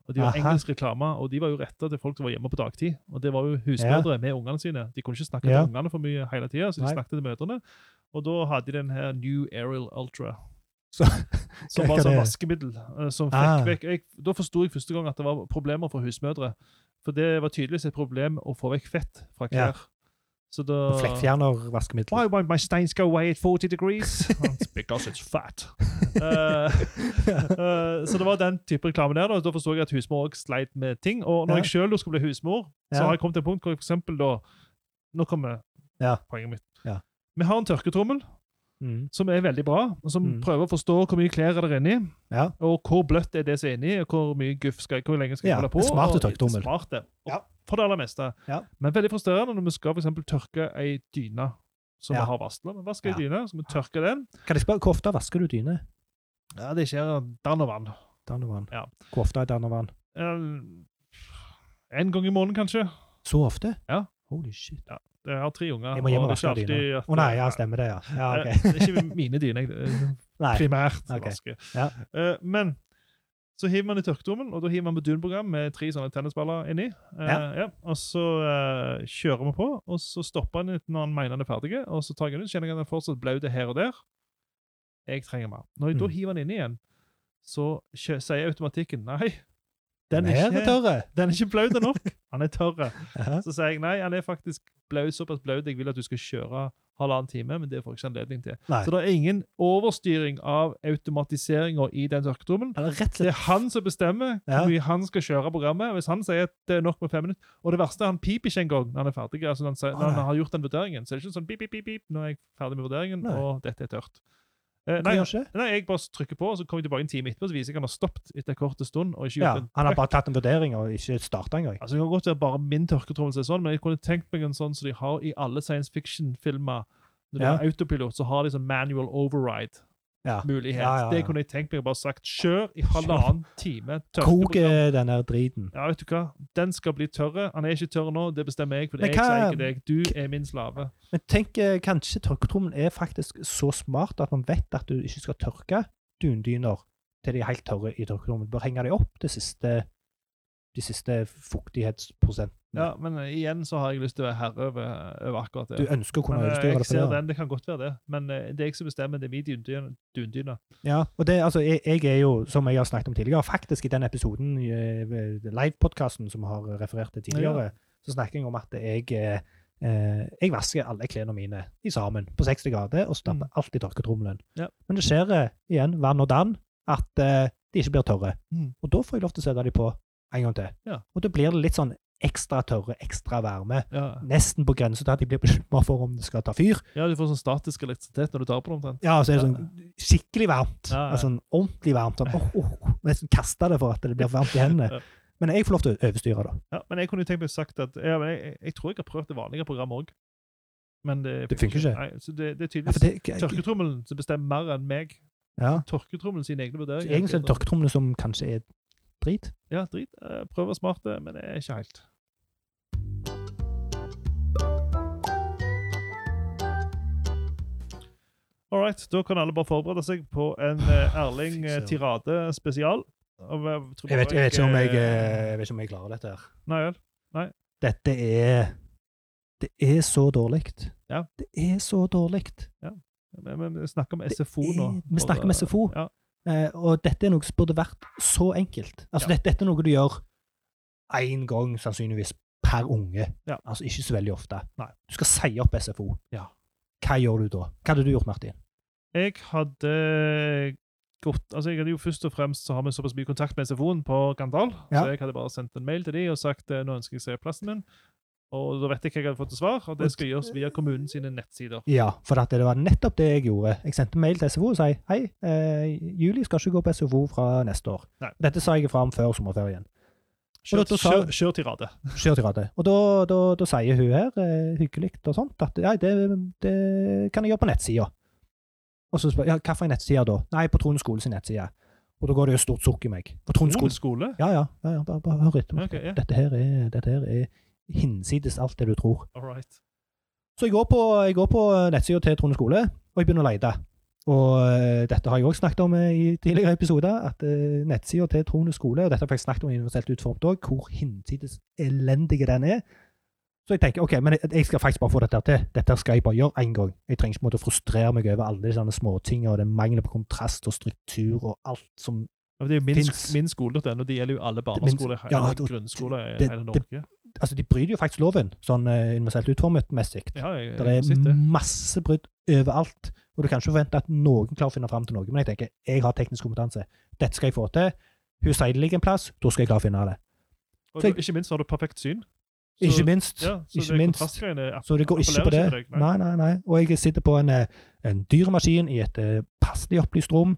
A: Og De var
B: Aha.
A: engelsk reklame, og de var jo retta til folk som var hjemme på dagtid. Og Det var jo husmødre med ungene sine. De kunne ikke snakke
B: Ja.
A: til ungene for mye hele tida, så de
B: Nei.
A: snakket til mødrene. Og da hadde de den her New Aerial Ultra.
B: Så-
A: som
B: hva
A: var
B: er
A: sånn
B: det?
A: vaskemiddel. eh, som fikk
B: Ah.
A: vekk, jeg, Da forsto jeg første gang at det var problemer for husmødre. For det var tydeligvis et problem å få vekk fett fra
B: Ja.
A: klær. Så da
B: Og Flekkfjerner vaskemiddel.
A: Why won't my stains go away at 40 degrees? It's because it's fat. Eh, Eh, så det var den type reklame der. Da, da forstår jeg at husmor også sleit med ting. Og når
B: Ja.
A: jeg sjøl skulle bli husmor, så
B: Ja.
A: har jeg kommet til et punkt hvor jeg for eksempel da Nå kommer
B: Ja.
A: poenget mitt.
B: Ja.
A: Vi har en tørketrommel
B: Mm.
A: som er veldig bra, og som
B: Mm.
A: prøver å forstå hvor mye klær er der inni,
B: Ja.
A: og hvor bløtt er det som er inni, og hvor mye guff skal, hvor lenge skal jeg
B: Ja,
A: holde på.
B: en smart
A: og-
B: tørketrommel.
A: Smart det. Og
B: Ja.
A: For det aller meste.
B: Ja.
A: Men veldig frustrerende når vi skal for eksempel tørke ei dyne som
B: Ja.
A: vi har varsla. Vi vasker ei
B: Ja.
A: dyne, så vi tørker den.
B: Kan jeg spørre, hvor ofte vasker du dyne?
A: Ja, det skjer dann og vann.
B: Dannevann.
A: Ja.
B: Hvor ofte er Dannevann?
A: Eh, En gang i måneden, kanskje.
B: Så ofte?
A: Ja.
B: Holy shit.
A: Jeg har tre unger.
B: Jeg må hjem og
A: det er
B: vaske
A: ikke
B: dyna.
A: alltid
B: Å
A: at-
B: nei, ja, stemmer det, ja. Ja,
A: Eh,
B: ok.
A: det er ikke mine dyner jeg eh,
B: Nei.
A: primært
B: Ok.
A: vasker.
B: Ja.
A: Eh, men så hiver man i tørkedommen, og da hiver man på dunprogram med tre sånne tennisballer inni. Eh,
B: Ja.
A: ja, og så eh, kjører vi på, og så stopper han litt når han mener han er ferdig, og så tar jeg den ut, kjenner jeg at han er fortsatt blaut her og der. Jeg trenger mer. Når jeg da
B: Mm.
A: hiver den inn igjen, så kjø- sier automatikken nei, den
B: her
A: er ikke
B: tørre.
A: den er ikke blaut nok. Han er tørr.
B: Ja.
A: Så sier jeg nei, han er faktisk blaut, såpass blaut jeg vil at du skal kjøre halvannen time, men det får jeg ikke anledning til.
B: Nei.
A: Så det er ingen overstyring av automatiseringa i den tørketrommelen.
B: Han er rett og
A: Det
B: slett
A: er han som bestemmer
B: Ja.
A: hvor mye han skal kjøre programmet. Hvis han sier at det er nok med fem minutter Og det verste, er han piper ikke engang når han er ferdig. Altså når, han sier,
B: Å,
A: når
B: nei.
A: han har gjort den vurderingen. Så det er ikke sånn pip, pip, pip, pip, nå er jeg ferdig med vurderingen,
B: Nei.
A: og dette er tørt. Eh,
B: Hva
A: nei,
B: gjør ikke?
A: nei, jeg bare trykker på, og så kommer jeg tilbake en time etterpå, så viser jeg at han har stoppet etter en kort stund. og ikke gjort
B: Ja,
A: en
B: han har bare tatt en vurdering og ikke starta engang.
A: Altså, Det kan godt være bare min tørketrommel som er sånn, men jeg kunne tenkt meg en sånn som de har i alle science fiction-filmer. Når du
B: Ja.
A: har autopilot, så har de sånn manual override-mulighet.
B: Ja. Ja, ja, ja.
A: Det kunne jeg tenkt meg å bare sagt. Kjør i halvannen time.
B: Kok
A: tørkeprogram.
B: eh, den der driten.
A: Ja, vet du hva? Den skal bli tørre. Han er ikke tørr nå, det bestemmer jeg. For
B: Men
A: jeg
B: hva-
A: sier ikke deg. Du er min slave.
B: Men tenk, eh, kanskje tørketrommelen er faktisk så smart at man vet at du ikke skal tørke dundyner til de er helt tørre i tørketrommelen. Du bør henge de opp det siste, de siste fuktighetsprosenten.
A: Ja, Men eh, igjen så har jeg lyst til å være herre over, eh, over akkurat
B: Du
A: det.
B: ønsker å kunne
A: Men, eh,
B: utstyre
A: jeg
B: det på det.
A: ser
B: da.
A: den, det kan godt være det. Men eh, det er jeg som bestemmer, det er min dundyne. dundyne.
B: Ja, og det, altså, jeg, jeg er jo, som jeg har snakket om tidligere, faktisk i den episoden, eh, livepodkasten som vi har referert til tidligere,
A: Ja.
B: så snakker jeg om at jeg eh, eh, jeg vasker alle klærne mine i sammen på 60 grader og stapper
A: Mm.
B: alltid tørketrommelen.
A: Ja.
B: Men det skjer eh, igjen, vann og dann, at eh, de ikke blir tørre.
A: Mm.
B: Og da får jeg lov til å sette de på en gang til.
A: Ja.
B: Og da blir det litt sånn ekstra tørre, ekstra varme.
A: Ja.
B: Nesten på grensen til at de blir bekymra for om det skal ta fyr.
A: ja, du får sånn statisk elektrisitet når du tar på det omtrent.
B: Ja, så er det sånn skikkelig varmt.
A: Ja, ja.
B: Altså, sånn ordentlig varmt. Sånn, oh, oh, nesten kaste det for at det blir varmt i hendene.
A: Ja.
B: Men jeg får lov til å overstyre, da.
A: Ja, men jeg kunne jo tenkt meg sagt at ja, men jeg, jeg, jeg tror jeg har prøvd det vanlige programmet òg. Men det,
B: Det funker ikke.
A: Nei, så det, det er
B: Ja, for
A: tydeligvis
B: det,
A: tørketrommelen som bestemmer mer enn meg.
B: ja.
A: Tørketrommelen sine egne
B: Så
A: vurderinger.
B: Egentlig er det tørketrommelen sånn som kanskje er drit.
A: Ja, drit. Eh, Prøver smarte, men det er ikke helt. All right, da kan alle bare forberede seg på en eh, Erling
B: Ah, Fy
A: eh,
B: søren.
A: Tirade spesial. Og Jeg, tror
B: Jeg vet,
A: bare
B: jeg vet ikke om jeg, eh,
A: eh,
B: jeg vet ikke om jeg klarer dette her.
A: Nei vel.
B: Dette er Det er så dårlig.
A: Ja.
B: Det er så dårlig.
A: Vi, vi- vi snakker om SFO
B: er-
A: nå.
B: vi snakker om
A: Bare-
B: SFO.
A: Ja.
B: Eh, og dette er noe som burde vært så enkelt. Altså,
A: Ja.
B: dette, dette er noe du gjør én gang, sannsynligvis, per unge.
A: Ja.
B: Altså ikke så veldig ofte.
A: Nei.
B: Du skal si opp SFO.
A: Ja.
B: Hva gjør du da? Hva hadde du gjort, Martin?
A: Jeg hadde gått, altså jeg hadde jo først og fremst så har vi såpass mye kontakt med SFO-en på Gandal,
B: Ja.
A: så jeg hadde bare sendt en mail til de og sagt eh, nå ønsker jeg å se plassen min. Og da vet jeg hva jeg hadde fått til svar, og det skal gjøres via kommunen sine nettsider.
B: Ja, for at det var nettopp det jeg gjorde. Jeg sendte mail til SFO og sa hei, eh, Juli skal ikke gå på SFO fra neste år.
A: Nei.
B: Dette sa jeg fra om før sommerferien.
A: Kjør,
B: Og da sa-
A: kjør, kjør tirade.
B: Skjer til rade. Og da, da, da sier hun her, eh, hyggelig og sånt, at ja, det, det kan jeg gjøre på nettsida. Og så spør jeg ja, hva for en nettside da? Nei, på Trond skole sin nettside. Og da går det jo stort sukk i meg. På Trond skole
A: Skole?
B: Ja, ja. ja, ja bare, bare hør etter. meg.
A: Ok, ja.
B: Dette her er, dette her er hinsides alt det du tror.
A: All right.
B: Så jeg går på, jeg går på eh, nettsida til Trond skole, og jeg begynner å lete. Og eh, dette har jeg òg snakket om eh, i tidligere episoder, at eh, nettsida til Trond skole, og dette har jeg faktisk snakket om i universelt utformt òg, hvor hinsides elendige den er. Så jeg tenker ok, men jeg- jeg skal faktisk bare få dette her til. Dette skal jeg bare gjøre én gang. Jeg trenger ikke på en måte å frustrere meg over alle disse småtingene og den mangelen på kontrast og struktur og alt som
A: Ja, men Det er jo min,
B: Finns-
A: min skole, den, og det gjelder jo alle
B: minst-
A: barneskoler, hele
B: ja, det-
A: grunnskoler i
B: det-
A: hele
B: det-
A: Norge.
B: Altså, de bryter jo faktisk loven, sånn eh, universelt utformet-messig.
A: Ja, jeg, jeg,
B: Det
A: sitter.
B: er masse brudd overalt. Og du kan ikke forvente at noen klarer å finne fram til noe. Men jeg tenker, jeg har teknisk kompetanse. Dette skal jeg få til. Hun sier det ligger en plass, da skal jeg klare å finne det.
A: Og du, ikke minst har du perfekt syn. Så-
B: Ikke minst.
A: Ja, så
B: ikke
A: det
B: minst.
A: kontrastgreiene er-
B: Så det går ikke på det.
A: appellerer ikke til deg,
B: Nei, nei, nei. Og jeg sitter på en, eh, en dyr maskin i et eh, passelig opplyst rom.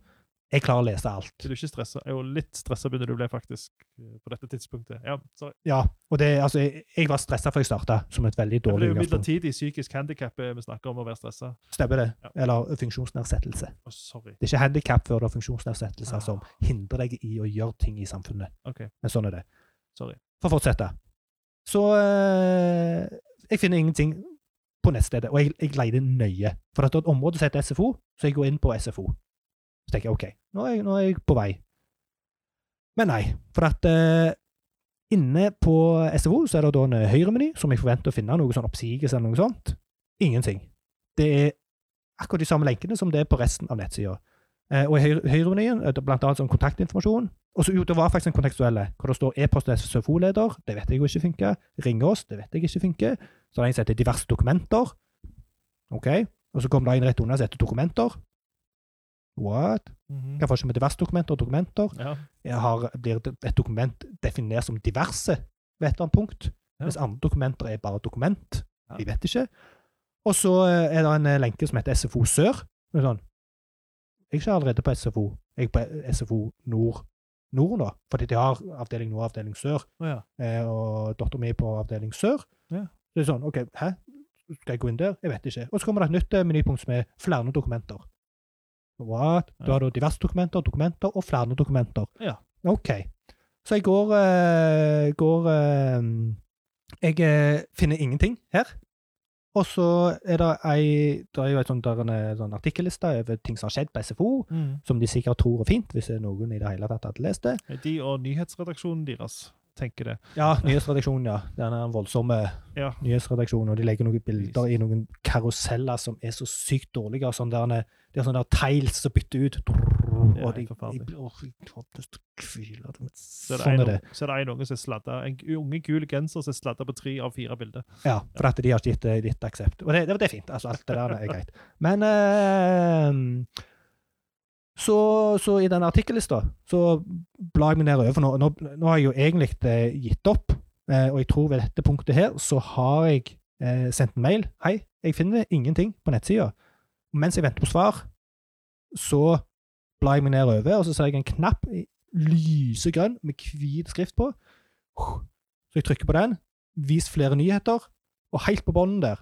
B: Jeg klarer å lese alt.
A: Er du ikke stressa? Jo, litt stressa begynner du å bli, faktisk, eh, på dette tidspunktet. Ja, sorry.
B: Ja, og det, altså, jeg, jeg var stressa før jeg starta, som et veldig
A: Det
B: dårlig
A: blir jo
B: utgangspunkt.
A: midlertidig psykisk handikap vi snakker om å være stressa.
B: Stemmer det?
A: Ja.
B: Eller funksjonsnedsettelse.
A: Å, sorry.
B: Det er ikke handikap før du har funksjonsnedsettelser
A: Ah.
B: som hindrer deg i å gjøre ting i samfunnet.
A: Ok,
B: Men sånn er det.
A: sorry.
B: for å fortsette. Så eh, jeg finner ingenting på nettstedet, og jeg, jeg leter nøye. For at det er et område som heter SFO, så jeg går inn på SFO. Så tenker jeg OK, nå er jeg, nå er jeg på vei. Men nei, for at eh, inne på SFO så er det da en høyremeny som jeg forventer å finne noe sånn oppsigelse eller noe sånt. Ingenting. Det er akkurat de samme lenkene som det er på resten av nettsida. Eh, og i høyre- høyremenyen, eh, det er blant annet sånn kontaktinformasjon. Og så, jo, det var faktisk en kontekstuelle, hvor det står e-post til SFO-leder, det vet jeg jo ikke funker. Ring oss, det vet jeg ikke funker. Så er det en som heter diverse dokumenter. Ok? Og så kom det en rett under som heter dokumenter. What?
A: Mhm.
B: Hva får ikke med diverse dokumenter og dokumenter?
A: Ja.
B: Jeg Har, blir det- et dokument definert som diverse ved et eller annet punkt?
A: Ja.
B: Mens andre dokumenter er bare dokument.
A: Ja.
B: Jeg vet ikke. Og så eh, er det en eh, lenke som heter SFO Sør. Det er Sånn. Jeg er ikke allerede på SFO. Jeg er på SFO Nord, Nord nå, fordi de har avdeling Nord og avdeling Sør.
A: Å ja.
B: Eh, og dattera mi er på avdeling Sør.
A: Ja.
B: Det er sånn, OK, hæ? Skal jeg gå inn der? Jeg vet ikke. Og så kommer det et nytt eh, menypunkt som er flere dokumenter. What? Du har da diverse dokumenter, dokumenter og flere dokumenter.
A: Ja.
B: OK. Så jeg går, eh, går eh, Jeg eh, finner ingenting her. Og så er det ei Det er jo et sånt der, en, eh, sånn artikkelliste over ting som har skjedd på SFO,
A: Mhm.
B: som de sikkert tror er fint, hvis det er noen i det hele tatt hadde lest det.
A: De og nyhetsredaksjonen deres tenker det.
B: Ja, nyhetsredaksjonen, ja. Den er den voldsomme
A: Ja.
B: nyhetsredaksjonen. Og de legger noen bilder i noen karuseller som er så sykt dårlige. og Sånn der, en- det er sånne der tiles som bytter ut.
A: Det er
B: Og de,
A: helt forferdelig.
B: de blir åh, jeg får lyst til å kvile.
A: Så er det
B: Sånn
A: en,
B: er det.
A: Så er det en unge som er sladda. En unge gul genser som er sladda på tre av fire bilder.
B: Ja, for at de har ikke gitt eh, ditt aksept. Og det, det, det er fint. altså Alt det der er greit. Men eh, så, så i den artikkellista så blar jeg meg nedover. For nå, nå, nå har jeg jo egentlig eh, gitt opp. Eh, og jeg tror ved dette punktet her så har jeg eh, sendt en mail. 'Hei, jeg finner ingenting på nettsida.' Mens jeg venter på svar, så blar jeg meg nedover, og så ser jeg en knapp i lysegrønn med hvit skrift på. Så jeg trykker på den. 'Vis flere nyheter', og helt på bunnen der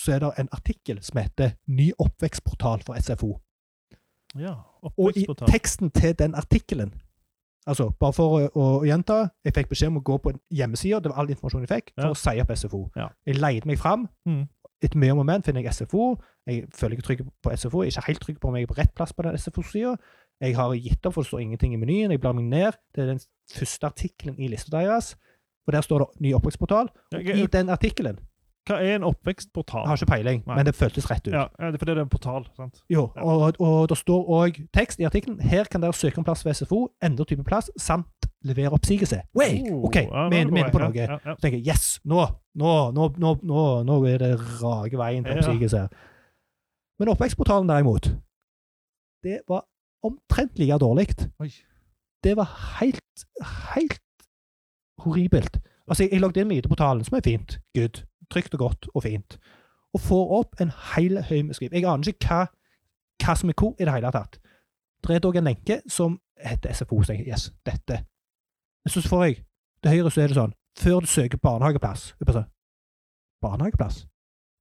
B: så er det en artikkel som heter 'Ny oppvekstportal for SFO'.
A: Ja,
B: Og i
A: oppvekstportal.
B: teksten til den artikkelen Altså, bare for å, å gjenta, jeg fikk beskjed om å gå på en hjemmeside, det var all informasjon jeg fikk, for
A: Ja.
B: å si opp SFO.
A: Ja.
B: Jeg leide meg fram.
A: Mhm.
B: Etter mye om og men finner jeg SFO. Jeg føler ikke trygg på SFO. Jeg er ikke helt trygg på om jeg er på rett plass på den SFO-sida. Jeg har gitt opp, for det står ingenting i menyen. Jeg blar meg ned. Det er den første artikkelen i lista deres. Og der står det ny oppvekstportal. Og
A: Ja,
B: i den artikkelen
A: Hva er en
B: Jeg
A: oppvekstportal?
B: har ikke peiling,
A: Nei.
B: men det føltes rett ut.
A: Ja, ja, det er fordi det er en portal. sant?
B: Jo,
A: Ja.
B: og, og det står òg tekst i artikkelen. Her kan dere søke om plass ved SFO, endre type plass, samt levere oppsigelse. Wait!
A: Oh,
B: OK,
A: ja,
B: vi
A: nå
B: er vi er inne på
A: god vei.
B: noe.
A: Ja, ja, ja.
B: Så tenker jeg yes, nå, nå, nå, nå, nå, nå er det rake veien til
A: Ja.
B: oppsigelse. her. Men oppvekstportalen derimot, det var omtrent like dårlig.
A: Oi.
B: Det var helt, helt horribelt. Altså, jeg, jeg logget inn med ID-portalen, som er fint. Good. Trygt og godt og fint. Og får opp en hel høy med skriv. Jeg aner ikke hva, hva som er hvor i det hele tatt. Det er dog en lenke som heter SFO. Så jeg, yes, dette. Men Så får jeg til høyre så er det sånn Før du søker barnehageplass jeg bare sånn, Barnehageplass?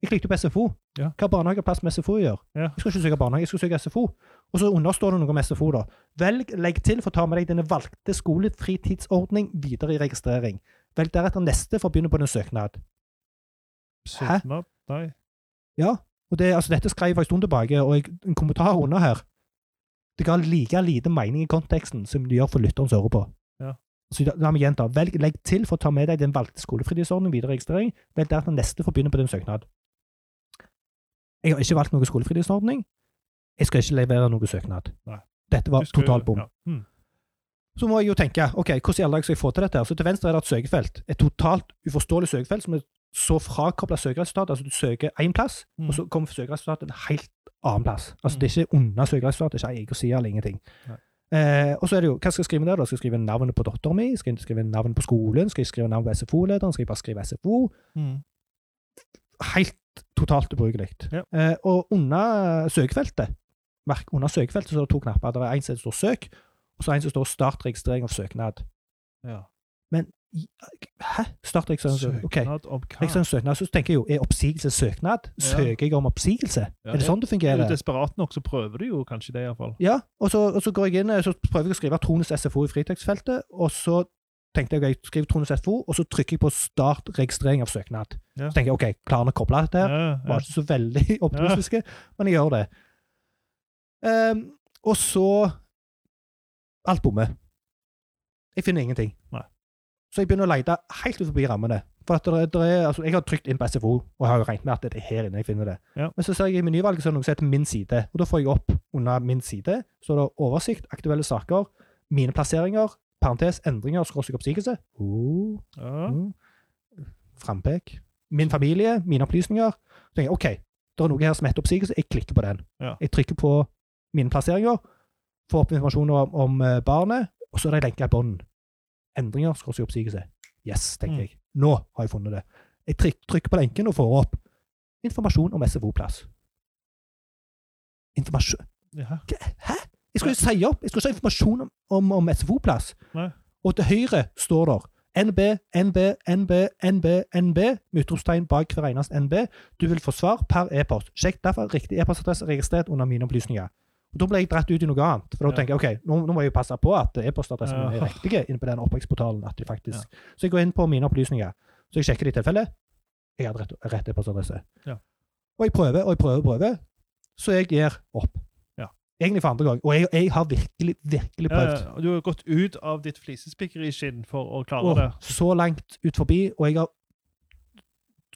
B: Jeg klikket jo på SFO.
A: Ja.
B: Hva har barnehageplass med SFO å gjøre?
A: Ja.
B: Jeg skal ikke søke barnehage, jeg skal søke SFO. Og så understår det noe om SFO, da. Velg, legg til for å ta med deg denne valgte skolefritidsordning videre i registrering. Velg deretter neste for å begynne på din søknad. Hæ?
A: Søknad? Nei.
B: Ja, og det, altså, dette skrev jeg for en stund tilbake, og jeg, en kommentar under her Det ga like lite mening i konteksten som det gjør for lytterens øre på.
A: Ja.
B: Så da, la meg gjenta. Velg, legg til for å ta med deg den valgte skolefritidsordningen videre i registrering. Velg deretter neste for å begynne på din søknad. Jeg har ikke valgt noen skolefritidsordning. Jeg skal ikke levere noen søknad.
A: Nei.
B: Dette var
A: Du skulle-
B: total bom.
A: ja. Mm.
B: Så må jeg jo tenke ok, hvordan i alle dager skal jeg få til dette? her? Så Til venstre er det et søkefelt. Et totalt uforståelig søkefelt som er så frakobla søkeresultat. Altså du søker én plass,
A: Mm.
B: og så kommer søkeresultatet en helt annen plass. Altså
A: Mm.
B: Det er ikke under søkeresultatet, det er ikke ei egen side eller ingenting.
A: Nei.
B: Eh, og så er det jo, Hva skal jeg skrive der? da? Skal jeg skrive navnet på dattera mi? Skal jeg skrive navnet på skolen? Skal jeg skrive navnet på SFO-lederen? Skal jeg bare skrive SFO? Hmm.
A: Mm.
B: helt totalt ubrukelig.
A: Ja.
B: Eh, og under søkefeltet merk, under søkefeltet så er det to knapper. Det er en som står 'søk', og så er det en som står 'start registrering av søknad'.
A: Ja.
B: Men i- hæ? Start registrering av søknad? OK.
A: Søknad om hva?
B: Registrering av søknad, så tenker jeg jo, Er oppsigelse søknad? Søker jeg om oppsigelse?
A: Ja,
B: er det sånn det
A: Er du
B: fungerer?
A: desperat nok, så prøver du jo kanskje det, iallfall.
B: Ja, og så, og så går jeg inn eh, så prøver jeg å skrive Trones SFO i fritekstsfeltet, og så tenkte jeg jeg skriver Trones SFO, og så trykker jeg på 'start registrering av søknad'.
A: Ja.
B: Så tenker jeg OK, klarer han å koble dette? her?
A: ja.
B: var ikke så veldig optimistiske, men jeg gjør det. Ehm, og så Alt bommer. Jeg finner ingenting.
A: Nei.
B: Så jeg begynner å lete helt ut forbi rammene. For at det, det er, altså, jeg har trykt inn på SFO, og jeg har jo regnet med at det er her inne jeg finner det.
A: Ja.
B: Men så ser jeg i menyvalget så er det noe som heter Min side, og da får jeg opp under Min side så er det oversikt, aktuelle saker, mine plasseringer, parentes, endringer, skråstrek oppsigelse. Oh.
A: Ja.
B: Mm. Frampek. Min familie, mine opplysninger. Så tenker jeg OK, det er noe her som heter oppsigelse. Jeg klikker på den.
A: Ja.
B: Jeg trykker på mine plasseringer, får opp informasjon om, om eh, barnet, og så er det lenka i bånd. Endringer skal si oppsigelse. Yes, tenker
A: Mm.
B: jeg. Nå har jeg funnet det. Jeg tryk- trykker på lenken og får opp informasjon om SFO-plass. Informasjon
A: ja.
B: Hæ? Jeg skulle jo si opp. Jeg skulle ikke ha informasjon om, om, om SFO-plass.
A: Nei.
B: Og til høyre står der NB, NB, NB, NB, NB, med utropstegn bak hver eneste NB. Du vil få svar per e-post. Sjekk derfor riktig e-postadresse registrert under mine opplysninger. Og Da ble jeg dratt ut i noe annet. For da
A: Ja.
B: tenker jeg ok, nå, nå må jeg jo passe på at e-postadressen min
A: Ja.
B: er riktig inne på den oppholdsportalen. at de faktisk... Så jeg går inn på mine opplysninger. Så jeg sjekker det i tilfelle. Jeg hadde rett, rett e-postadresse.
A: Ja.
B: Og jeg prøver og jeg prøver og prøver. Så jeg gir opp.
A: Ja.
B: Egentlig for andre gang. Og jeg, jeg har virkelig, virkelig
A: Ja,
B: prøvd.
A: ja. Du har gått ut av ditt flisespikkeriskinn for å klare
B: Og
A: det.
B: så langt ut forbi, og jeg har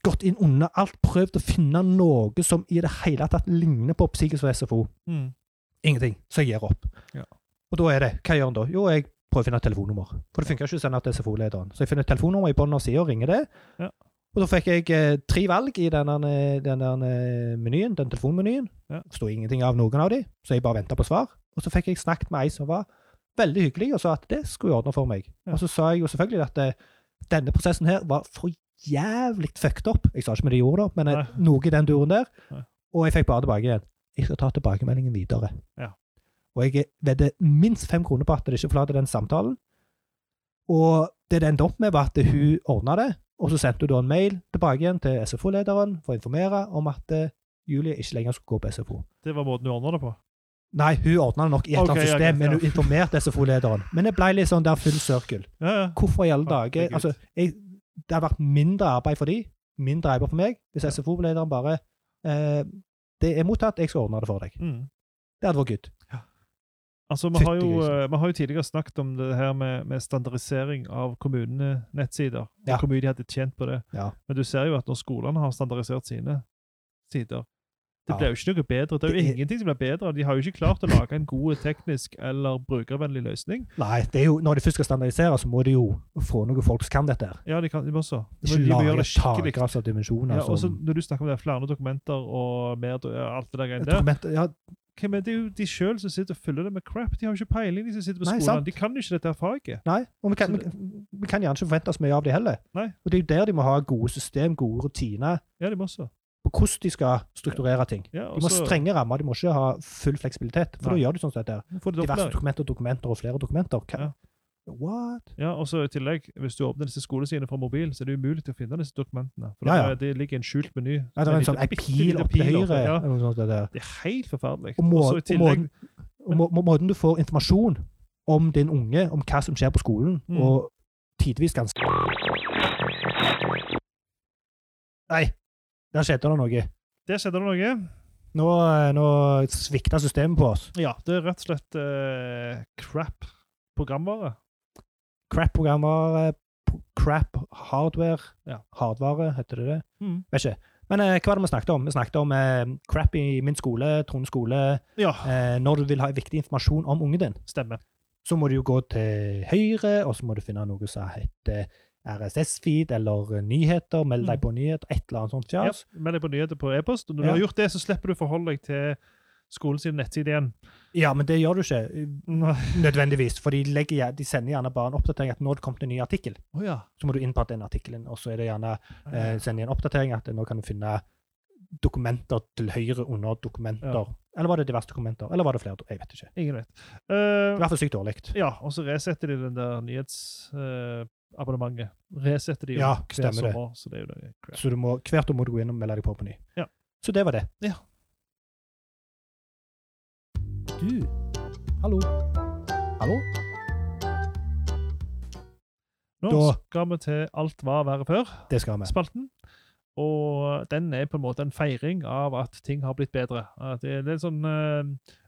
B: gått inn under alt, prøvd å finne noe som i det hele tatt ligner på oppsigelse og SFO.
A: Mm.
B: Ingenting. Så jeg gir opp.
A: Ja.
B: Og da er det. Hva gjør en da? Jo, jeg prøver å finne et telefonnummer. For det funker ikke å sende til SFO-lederen. Så jeg finner et telefonnummer i bunnen av sida og ringer det.
A: Ja.
B: Og da fikk jeg eh, tre valg i den der, den der eh, menyen, den telefonmenyen.
A: Ja.
B: Forsto ingenting av noen av de, så jeg bare venta på svar. Og så fikk jeg snakket med ei som var veldig hyggelig, og sa at det skulle hun ordne for meg.
A: Ja.
B: Og så sa jeg jo selvfølgelig at eh, denne prosessen her var for jævlig fucked up. Jeg sa ikke med de ordene, men eh,
A: Nei.
B: noe i den duren der.
A: Nei.
B: Og jeg fikk bare tilbake igjen. Jeg skal ta tilbakemeldingen videre.
A: Ja.
B: Og jeg eh, vedder minst fem kroner på at det ikke forlater den samtalen. Og det det endte opp med, var at hun ordna det. Og så sendte hun da en mail tilbake igjen til SFO-lederen for å informere om at eh, Julie ikke lenger skulle gå på SFO.
A: Det var måten du ordna det på.
B: Nei, hun ordna det nok i et eller
A: Ok,
B: annet
A: ja,
B: system,
A: greit,
B: men
A: ja.
B: hun informerte SFO-lederen. Men det ble litt sånn der full sirkel.
A: Ja, ja.
B: Hvorfor i alle dager
A: Herregud.
B: Altså, jeg, det hadde vært mindre arbeid for de, mindre arbeid for meg, hvis
A: Ja.
B: SFO-lederen bare eh, Det er mottatt, jeg skal ordne det for deg.
A: Mm.
B: Det hadde vært good.
A: Altså, vi
B: Fytti
A: har, jo,
B: grisen.
A: eh, vi har jo tidligere snakket om det her med, med standardisering av kommunenettsider.
B: Ja.
A: og Hvor mye de hadde tjent på det.
B: Ja.
A: Men du ser jo at når skolene har standardisert sine sider, det
B: Ja.
A: blir jo ikke noe bedre. Det er jo
B: Det er-
A: ingenting som blir bedre. De har jo ikke klart å lage en god teknisk eller brukervennlig løsning.
B: Nei, det er jo, når de først skal standardisere, så må de jo få noen folk som kan dette. her.
A: Ja, de kan de må også. De må,
B: Ikke
A: de må
B: lage altså,
A: gjøre det skikkelig.
B: takras av dimensjoner.
A: Ja, og så
B: som,
A: når du snakker om det er flere dokumenter og mer, do- ja, alt det der greiene der
B: dokumenter, ja,
A: Hvem er det Det er jo de sjøl som sitter og fyller det med crap? De har jo ikke peiling, de som sitter på
B: Nei,
A: skolen.
B: sant.
A: De kan jo ikke dette her faget.
B: nei, og vi kan,
A: Så
B: vi, vi kan gjerne ikke forvente så mye av de heller.
A: Nei.
B: Og Det er jo der de må ha gode system, gode rutiner
A: Ja, de må også.
B: på hvordan de skal strukturere ting.
A: Ja,
B: De må ha
A: også-
B: strenge rammer, de må ikke ha full fleksibilitet. For
A: Nei.
B: da gjør de sånn som dette. her.
A: Får du
B: Diverse
A: opplæring?
B: dokumenter, dokumenter og flere dokumenter. Hva- What?
A: Ja, og så i tillegg, hvis du åpner disse skolesidene fra mobil, så er det umulig til å finne disse dokumentene. For
B: Ja, ja.
A: det er- det ligger en skjult meny.
B: Nei, det er en
A: liten-
B: sånn en
A: bitte
B: pil
A: liten
B: opp til
A: pil
B: høyre.
A: oppe, Ja,
B: eller noe sånt der.
A: det er helt forferdelig.
B: Og, må,
A: Og så i
B: og,
A: tillegg
B: måten, og må, må, måten du får informasjon om din unge, om hva som skjer på skolen,
A: Mm.
B: og tidvis ganske Nei, der skjedde det noe.
A: Der skjedde det noe.
B: Nå, eh, nå svikta systemet på oss.
A: Ja, det er rett og slett eh, crap programvare.
B: Crap-programmer, crap hardware,
A: Ja.
B: hardvare, heter det det?
A: Mm.
B: Vet ikke. Men eh, hva var det vi snakket om? Vi snakket om eh, crap i min skole, Trond skole.
A: Ja,
B: Eh, når du vil ha viktig informasjon om ungen din.
A: stemmer.
B: så må du jo gå til høyre, og så må du finne noe som heter RSS-feed eller nyheter, meld deg
A: Mm.
B: på nyheter, et eller annet sånt fjas.
A: Ja, meld deg på nyheter på e-post. Og når
B: Ja.
A: du har gjort det, så slipper du å forholde deg til skolen sin nettside igjen.
B: Ja, men det gjør du ikke eh,
A: Å
B: nødvendigvis, for de, legger, gjer- de sender gjerne bare en oppdatering at nå har det kommet en ny artikkel.
A: ja.
B: Så må du inn på den artikkelen, og så er det gjerne eh, sende en oppdatering at nå kan du finne dokumenter til høyre under dokumenter.
A: Ja.
B: Eller var det diverse dokumenter? Eller var det flere? do- Jeg vet ikke.
A: Ingen vet.
B: I
A: Eh,
B: hvert fall sykt dårlig.
A: Ja, og så resetter de den der nyhetsabonnementet. resetter de jo
B: Ja,
A: hver
B: stemmer det.
A: sommer, så det er jo det crap.
B: Så du må, hvert år må du gå inn og melde deg på på ny.
A: Ja.
B: Så det var det.
A: Ja.
B: Du. Hallo. Hallo?
A: Nå
B: Da-
A: skal vi til Alt var verre før-spalten.
B: Det skal vi.
A: Og den er på en måte en feiring av at ting har blitt bedre. At det er litt sånn eh,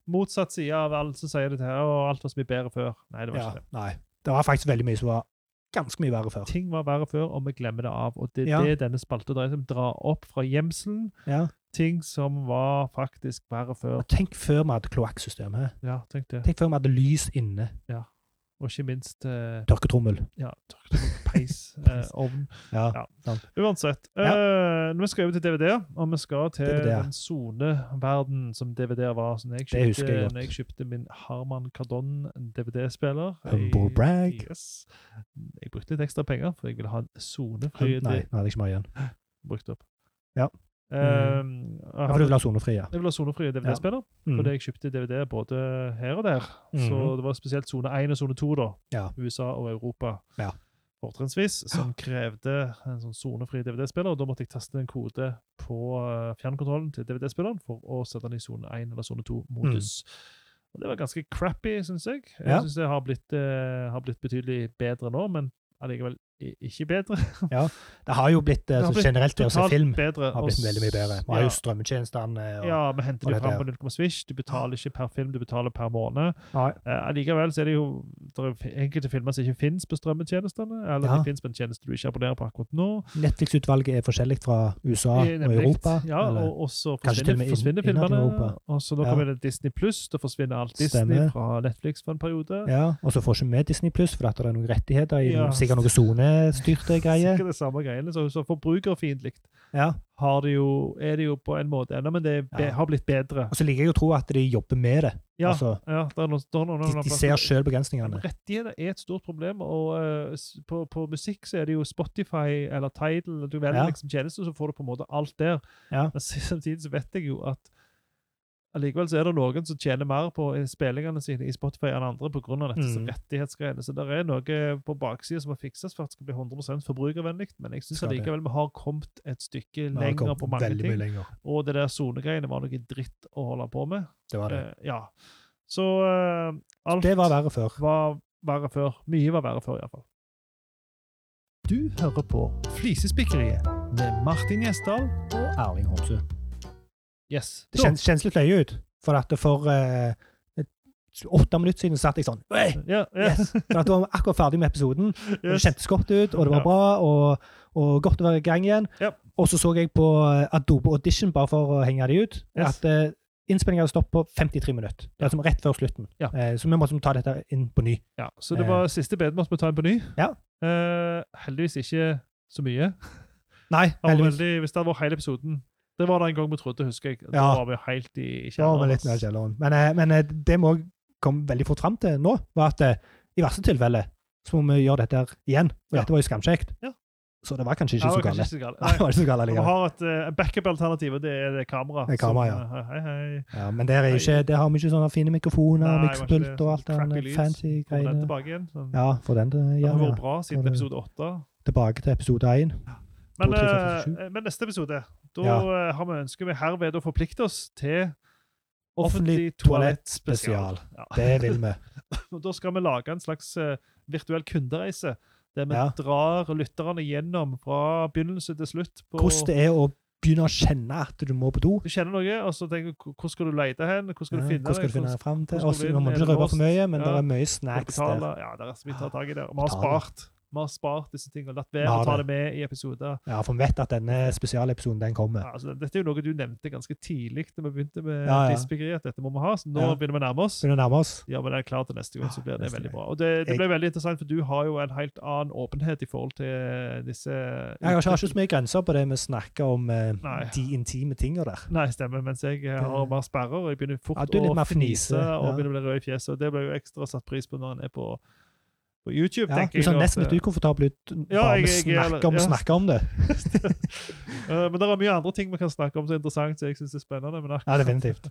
A: motsatt side av alle som sier det til her, og alt var så mye bedre før. Nei, det var
B: Ja,
A: ikke det.
B: nei. Det var faktisk veldig mye som var ganske mye verre før.
A: Ting var verre før, og vi glemmer det av. Og det er
B: Ja.
A: det denne spalta dreier seg om. Dra opp fra gjemselen
B: Ja.
A: ting som var faktisk verre før.
B: Og tenk før vi hadde kloakksystem her.
A: Ja, tenk det.
B: Tenk før vi hadde lys inne.
A: Og ikke minst eh,
B: Tørketrommel.
A: ja, peis, eh, ovn.
B: Ja.
A: Ja. Uansett. Eh, nå skal vi over til DVD-er, og vi skal til
B: DVD-er.
A: den soneverden som DVD-er var. Så når jeg
B: Det husker
A: kjøpte,
B: jeg godt.
A: når jeg kjøpte min Harman Kardon DVD-spiller
B: Humble
A: jeg-
B: brag.
A: Yes. Jeg brukte litt ekstra penger, for jeg ville ha en sonefri
B: Nei, nå hadde jeg ikke mer igjen.
A: brukt opp.
B: Ja. Mm.
A: Eh,
B: Ja,
A: jeg,
B: for du
A: hadde,
B: vil ha sonefri, ja.
A: jeg ville ha sonefrie DVD-spiller,
B: Mm.
A: fordi jeg kjøpte DVD både her og der. Så
B: Mhm.
A: det var spesielt sone 1 og sone 2, da.
B: Ja.
A: USA og Europa.
B: Ja. Ah.
A: Fortrinnsvis. Som krevde en sånn sonefri DVD-spiller. og Da måtte jeg taste en kode på eh, fjernkontrollen til DVD-spilleren for å sette den i sone 1 eller sone 2-modus. Og Det var ganske crappy, syns jeg. Jeg
B: Mm. Ja.
A: synes det har blitt, eh, har blitt betydelig bedre nå, men allikevel i- ikke bedre.
B: Det har jo blitt
A: Det
B: eh,
A: har
B: så
A: blitt
B: generelt det å se film
A: bedre.
B: har
A: og
B: blitt
A: s-
B: veldig mye bedre. Vi har jo strømmetjenestene og
A: Ja, vi henter
B: og
A: det
B: det
A: fram
B: der. Ah.
A: på 0,5 swish. Du betaler ikke per film, du betaler per måned.
B: Nei.
A: Eh, Allikevel så er det jo der er fi- enkelte filmer som ikke finnes på strømmetjenestene, eller
B: Ja.
A: de finnes på en tjeneste du ikke abonnerer på akkurat nå.
B: Netflix-utvalget er forskjellig fra
A: Eh,
B: USA Ah, og
A: nemlig.
B: Europa.
A: Ja,
B: eller-
A: og, og så
B: kanskje til
A: forsvinner,
B: og med inn-
A: forsvinner
B: innad i
A: filmene.
B: Europa.
A: Og så nå
B: Ja.
A: kommer det Disney Pluss, da forsvinner alt Disney
B: Stemmer.
A: fra Netflix for en periode.
B: ja, og så får ikke vi Disney Pluss, for at det er noen rettigheter i
A: Ja.
B: noen, sikkert noen sonestyrte greier.
A: Sikkert det samme greiene. Så, så forbrukerfiendtlig
B: Ja.
A: har det jo, er det jo på en måte ennå, men det er be,
B: Ja.
A: har blitt bedre.
B: Og så liker jeg å tro at de jobber med det.
A: Ja,
B: Altså,
A: ja det er noen, det er noen,
B: de, de ser sjøl begrensningene.
A: Rettigheter er et stort problem, og eh, s- på, på musikk så er det jo Spotify eller Tidal, du velger
B: Ja.
A: liksom tjeneste, så får du på en måte alt der.
B: Ja.
A: Men s- samtidig så vet jeg jo at allikevel så er det noen som tjener mer på eh, spillingene sine i Spotify enn andre pga. dette som
B: Mm.
A: rettighetsgreiene. Så det er noe på baksida som må fikses for at det skal bli 100 forbrukervennlig, men jeg syns
B: Skal det.
A: allikevel vi har kommet et stykke
B: Vi har
A: lenger
B: kommet
A: på mange
B: veldig mye
A: ting.
B: lenger.
A: Og det der sonegreiene var noe dritt å holde på med.
B: Det var det.
A: Eh, ja. Så eh, alt
B: Det var verre før.
A: var verre før. Mye var verre før, iallfall. Du hører på Flisespikkeriet med Martin Gjesdal.
B: Erling Homsø.
A: Yes.
B: Det kjennes, kjennes litt løye ut. For at det for eh, et- åtte minutter siden satt jeg sånn «Oi,
A: Ja, ja,
B: Yes! For at du var akkurat ferdig med episoden. og Det
A: yes.
B: kjentes godt ut, og det
A: Ja.
B: var bra, og, og godt å være i gang igjen.
A: Ja.
B: Og så så jeg på eh, Adobe Audition, bare for å henge de ut,
A: Yes.
B: at eh, innspillingen hadde stoppet på 53 minutter. Det er altså rett før slutten.
A: Ja.
B: Eh, så vi måtte ta dette inn på ny.
A: ja. Så det var siste beden måtte vi ta en på ny.
B: Eh. Ja.
A: Eh, heldigvis ikke så mye.
B: Nei,
A: Det var
B: heldigvis.
A: veldig, hvis det hadde vært hele episoden Det var det en gang vi trodde, husker jeg. Da
B: Ja.
A: var vi helt i i
B: Ja,
A: kjelleren.
B: men litt ned i
A: ass.
B: kjelleren. Men, eh, men eh, det vi òg kom veldig fort fram til nå, var at eh, i verste tilfelle så må vi gjøre dette her igjen. Og
A: Ja.
B: dette var jo skamkjekt.
A: Ja.
B: Så det var kanskje
A: Ja, det
B: ikke så
A: var kanskje
B: gale.
A: ikke så galt.
B: Nei, det
A: Nei.
B: var ikke så
A: Vi
B: gale likevel.
A: har et eh, backup-alternativ, og det er det kamera.
B: Det er kamera,
A: som, eh, Hei, hei.
B: Ja, men der, er jo ikke, der har vi ikke sånne fine mikrofoner,
A: Nei, det var ikke det.
B: miksepult og alt det
A: Crappy
B: andre
A: lys.
B: fancy
A: Kommer den
B: greiene.
A: tilbake igjen? Sånn.
B: Ja, for den eh,
A: Det
B: ja,
A: har
B: ja.
A: vært bra siden
B: Kan du-
A: episode åtte.
B: Tilbake til episode én.
A: Men,
B: 2, 3, 4, 5,
A: eh, men neste episode, da
B: Ja.
A: eh, har vi ønsket vi herved å forplikte oss til
B: Offentlig
A: offentlig
B: toalett
A: toalettspesial. Ja.
B: Det vil vi.
A: Og da skal vi lage en slags eh, virtuell kundereise, der vi
B: Ja.
A: drar lytterne gjennom fra begynnelse til slutt. På,
B: Hvordan det er å begynne å kjenne at du må på do.
A: du kjenner noe, og så tenker du "Hvor- hvor skal du lete hen, hvor skal du
B: Ja,
A: finne
B: Hvordan skal du finne
A: hvordan
B: det fram til?
A: hvordan
B: Også,
A: skal du
B: nå må
A: inn?
B: du ikke
A: Er det
B: røpe for mye, men
A: låst?
B: det er mye
A: skal du
B: snacks der.
A: betale? Ja, det er så mye å ta tak i der. Og Vi har
B: Betale.
A: spart. Vi har spart disse tingene og latt være
B: Vi
A: å
B: har
A: ta det
B: det.
A: med i episoder.
B: Ja, for vi vet at denne spesialepisoden den kommer.
A: Ja, altså, dette er jo noe du nevnte ganske tidlig da vi begynte med
B: Ja, ja.
A: flisbyggeri, at dette må vi ha. Så nå
B: Ja.
A: begynner vi å nærme oss.
B: Begynner å nærme oss.
A: Ja, men det er klart til neste gang, så blir det
B: Neste
A: veldig
B: gang.
A: bra. Og det, det
B: Jeg-
A: ble veldig interessant, for du har jo en helt annen åpenhet i forhold til disse
B: Jeg har ikke, har ikke så mye grenser på det vi snakker om eh,
A: Nei.
B: de intime tinga der.
A: Nei, stemmer. Mens jeg eh, har mer sperrer, og jeg begynner fort
B: Ja, du er litt
A: å
B: mer
A: fnise
B: fnise,
A: og
B: ja.
A: begynner å bli rød i fjeset. Og det ble jo ekstra satt pris på når en er på, på YouTube,
B: Ja,
A: tenker
B: du ser
A: nå at,
B: nesten litt
A: eh,
B: ukomfortabel ut
A: Ja,
B: bare
A: jeg-
B: vi
A: jeg er-
B: snakker om,
A: ja.
B: snakker om det.
A: eh, Men det er mye andre ting vi kan snakke om som er interessant, så jeg syns det er spennende. Men
B: Ja, definitivt.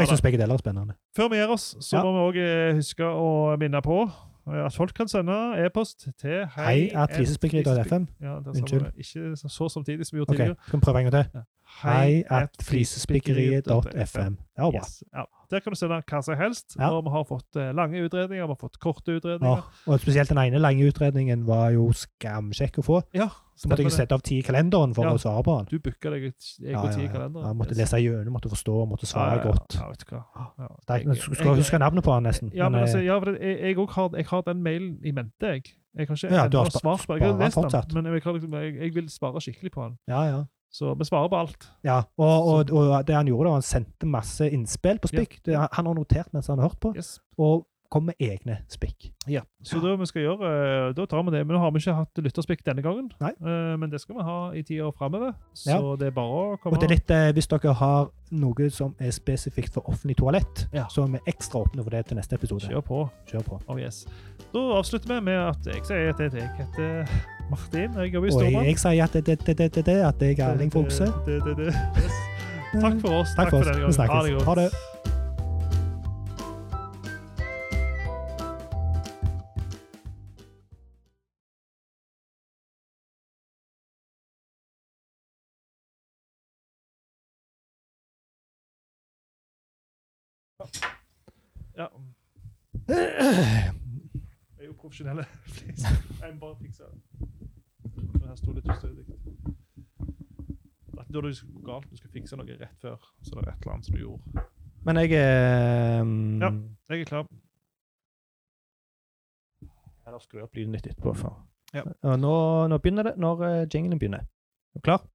A: Ja,
B: jeg syns begge deler er spennende.
A: Før vi gir oss, så
B: Ja.
A: må vi òg huske å minne på eh, at folk kan sende e-post til
B: Hei at flisespikkerid.fm.
A: Ja, der sa vi
B: Unnskyld.
A: det. Ikke så- så samtidig som vi gjorde
B: OK,
A: tidligere.
B: skal vi prøve en gang til? Hei at
A: flisespikkeriet.fm.
B: flisespikkeriet.fm. Det var bra.
A: Yes. Ja. Der kan du sende hva som helst.
B: Ja.
A: Og vi har fått eh, lange utredninger, vi har fått korte
B: Ja,
A: utredninger.
B: og spesielt den ene lange utredningen var jo skamkjekk å få.
A: Ja,
B: Så måtte
A: stemmer
B: jeg
A: det.
B: sette av tid i kalenderen for
A: Ja.
B: å svare på den.
A: Du booka deg et jeg
B: Ja,
A: og ti i
B: ja, ja.
A: kalenderen.
B: Jeg måtte
A: Yes.
B: lese gjennom, måtte forstå, måtte
A: Ja,
B: svare
A: ja,
B: godt.
A: Ja, vet du hva. Ja.
B: Det er ikke-
A: Jeg-
B: Skal skal huske navnet på han nesten.
A: Ja, men
B: eh,
A: altså, ja, for det- jeg, jeg, også har, jeg har den mailen i mente, jeg. Jeg kan ikke
B: Ja, du har
A: enda
B: spa-
A: svart på Jeg har
B: sparer
A: lest
B: fortsatt.
A: den, men jeg, kan liksom, jeg, jeg vil spare skikkelig på den.
B: Ja, ja.
A: Så vi sparer på alt.
B: ja. Og, og, og det han gjorde, da, han sendte masse innspill på spikk. Det- Han, han har notert mens han har hørt på,
A: Yes.
B: og kom med egne spikk.
A: Så det vi skal gjøre, eh, da tar vi det. Men nå har vi ikke hatt lytterspikk denne gangen.
B: Nei.
A: Eh, Men det skal vi ha i tida framover. Så
B: Ja.
A: det er bare å
B: Og
A: komme
B: det er litt, eh, Hvis dere har noe som er spesifikt for offentlig toalett,
A: Ja.
B: så er vi ekstra åpne for det til neste episode.
A: Kjør på.
B: Kjør på.
A: Oh, yes. Da avslutter vi med at jeg sier at jeg heter Martin. Jeg jobber i
B: Og jeg,
A: Stormann.
B: jeg sier at det, det, det, det, det, at jeg er Erling Fogse.
A: Det- det- det- Yes. Takk for oss.
B: Eh, Takk for oss.
A: denne gangen.
B: Vi
A: Ha det godt.
B: snakkes. Ha det.
A: Ja. Jeg er jo profesjonell. please. Jeg må bare fikse det. Men Her sto det litt ustødig. Da er det jo galt du skal fikse noe rett før. Så det er et eller annet som du gjorde.
B: Men jeg eh,
A: Ja. Jeg er klar.
B: Eller skru opp lyden litt etterpå. for-
A: Ja.
B: Og Nå, nå begynner det, når eh, jinglen begynner. Er du klar?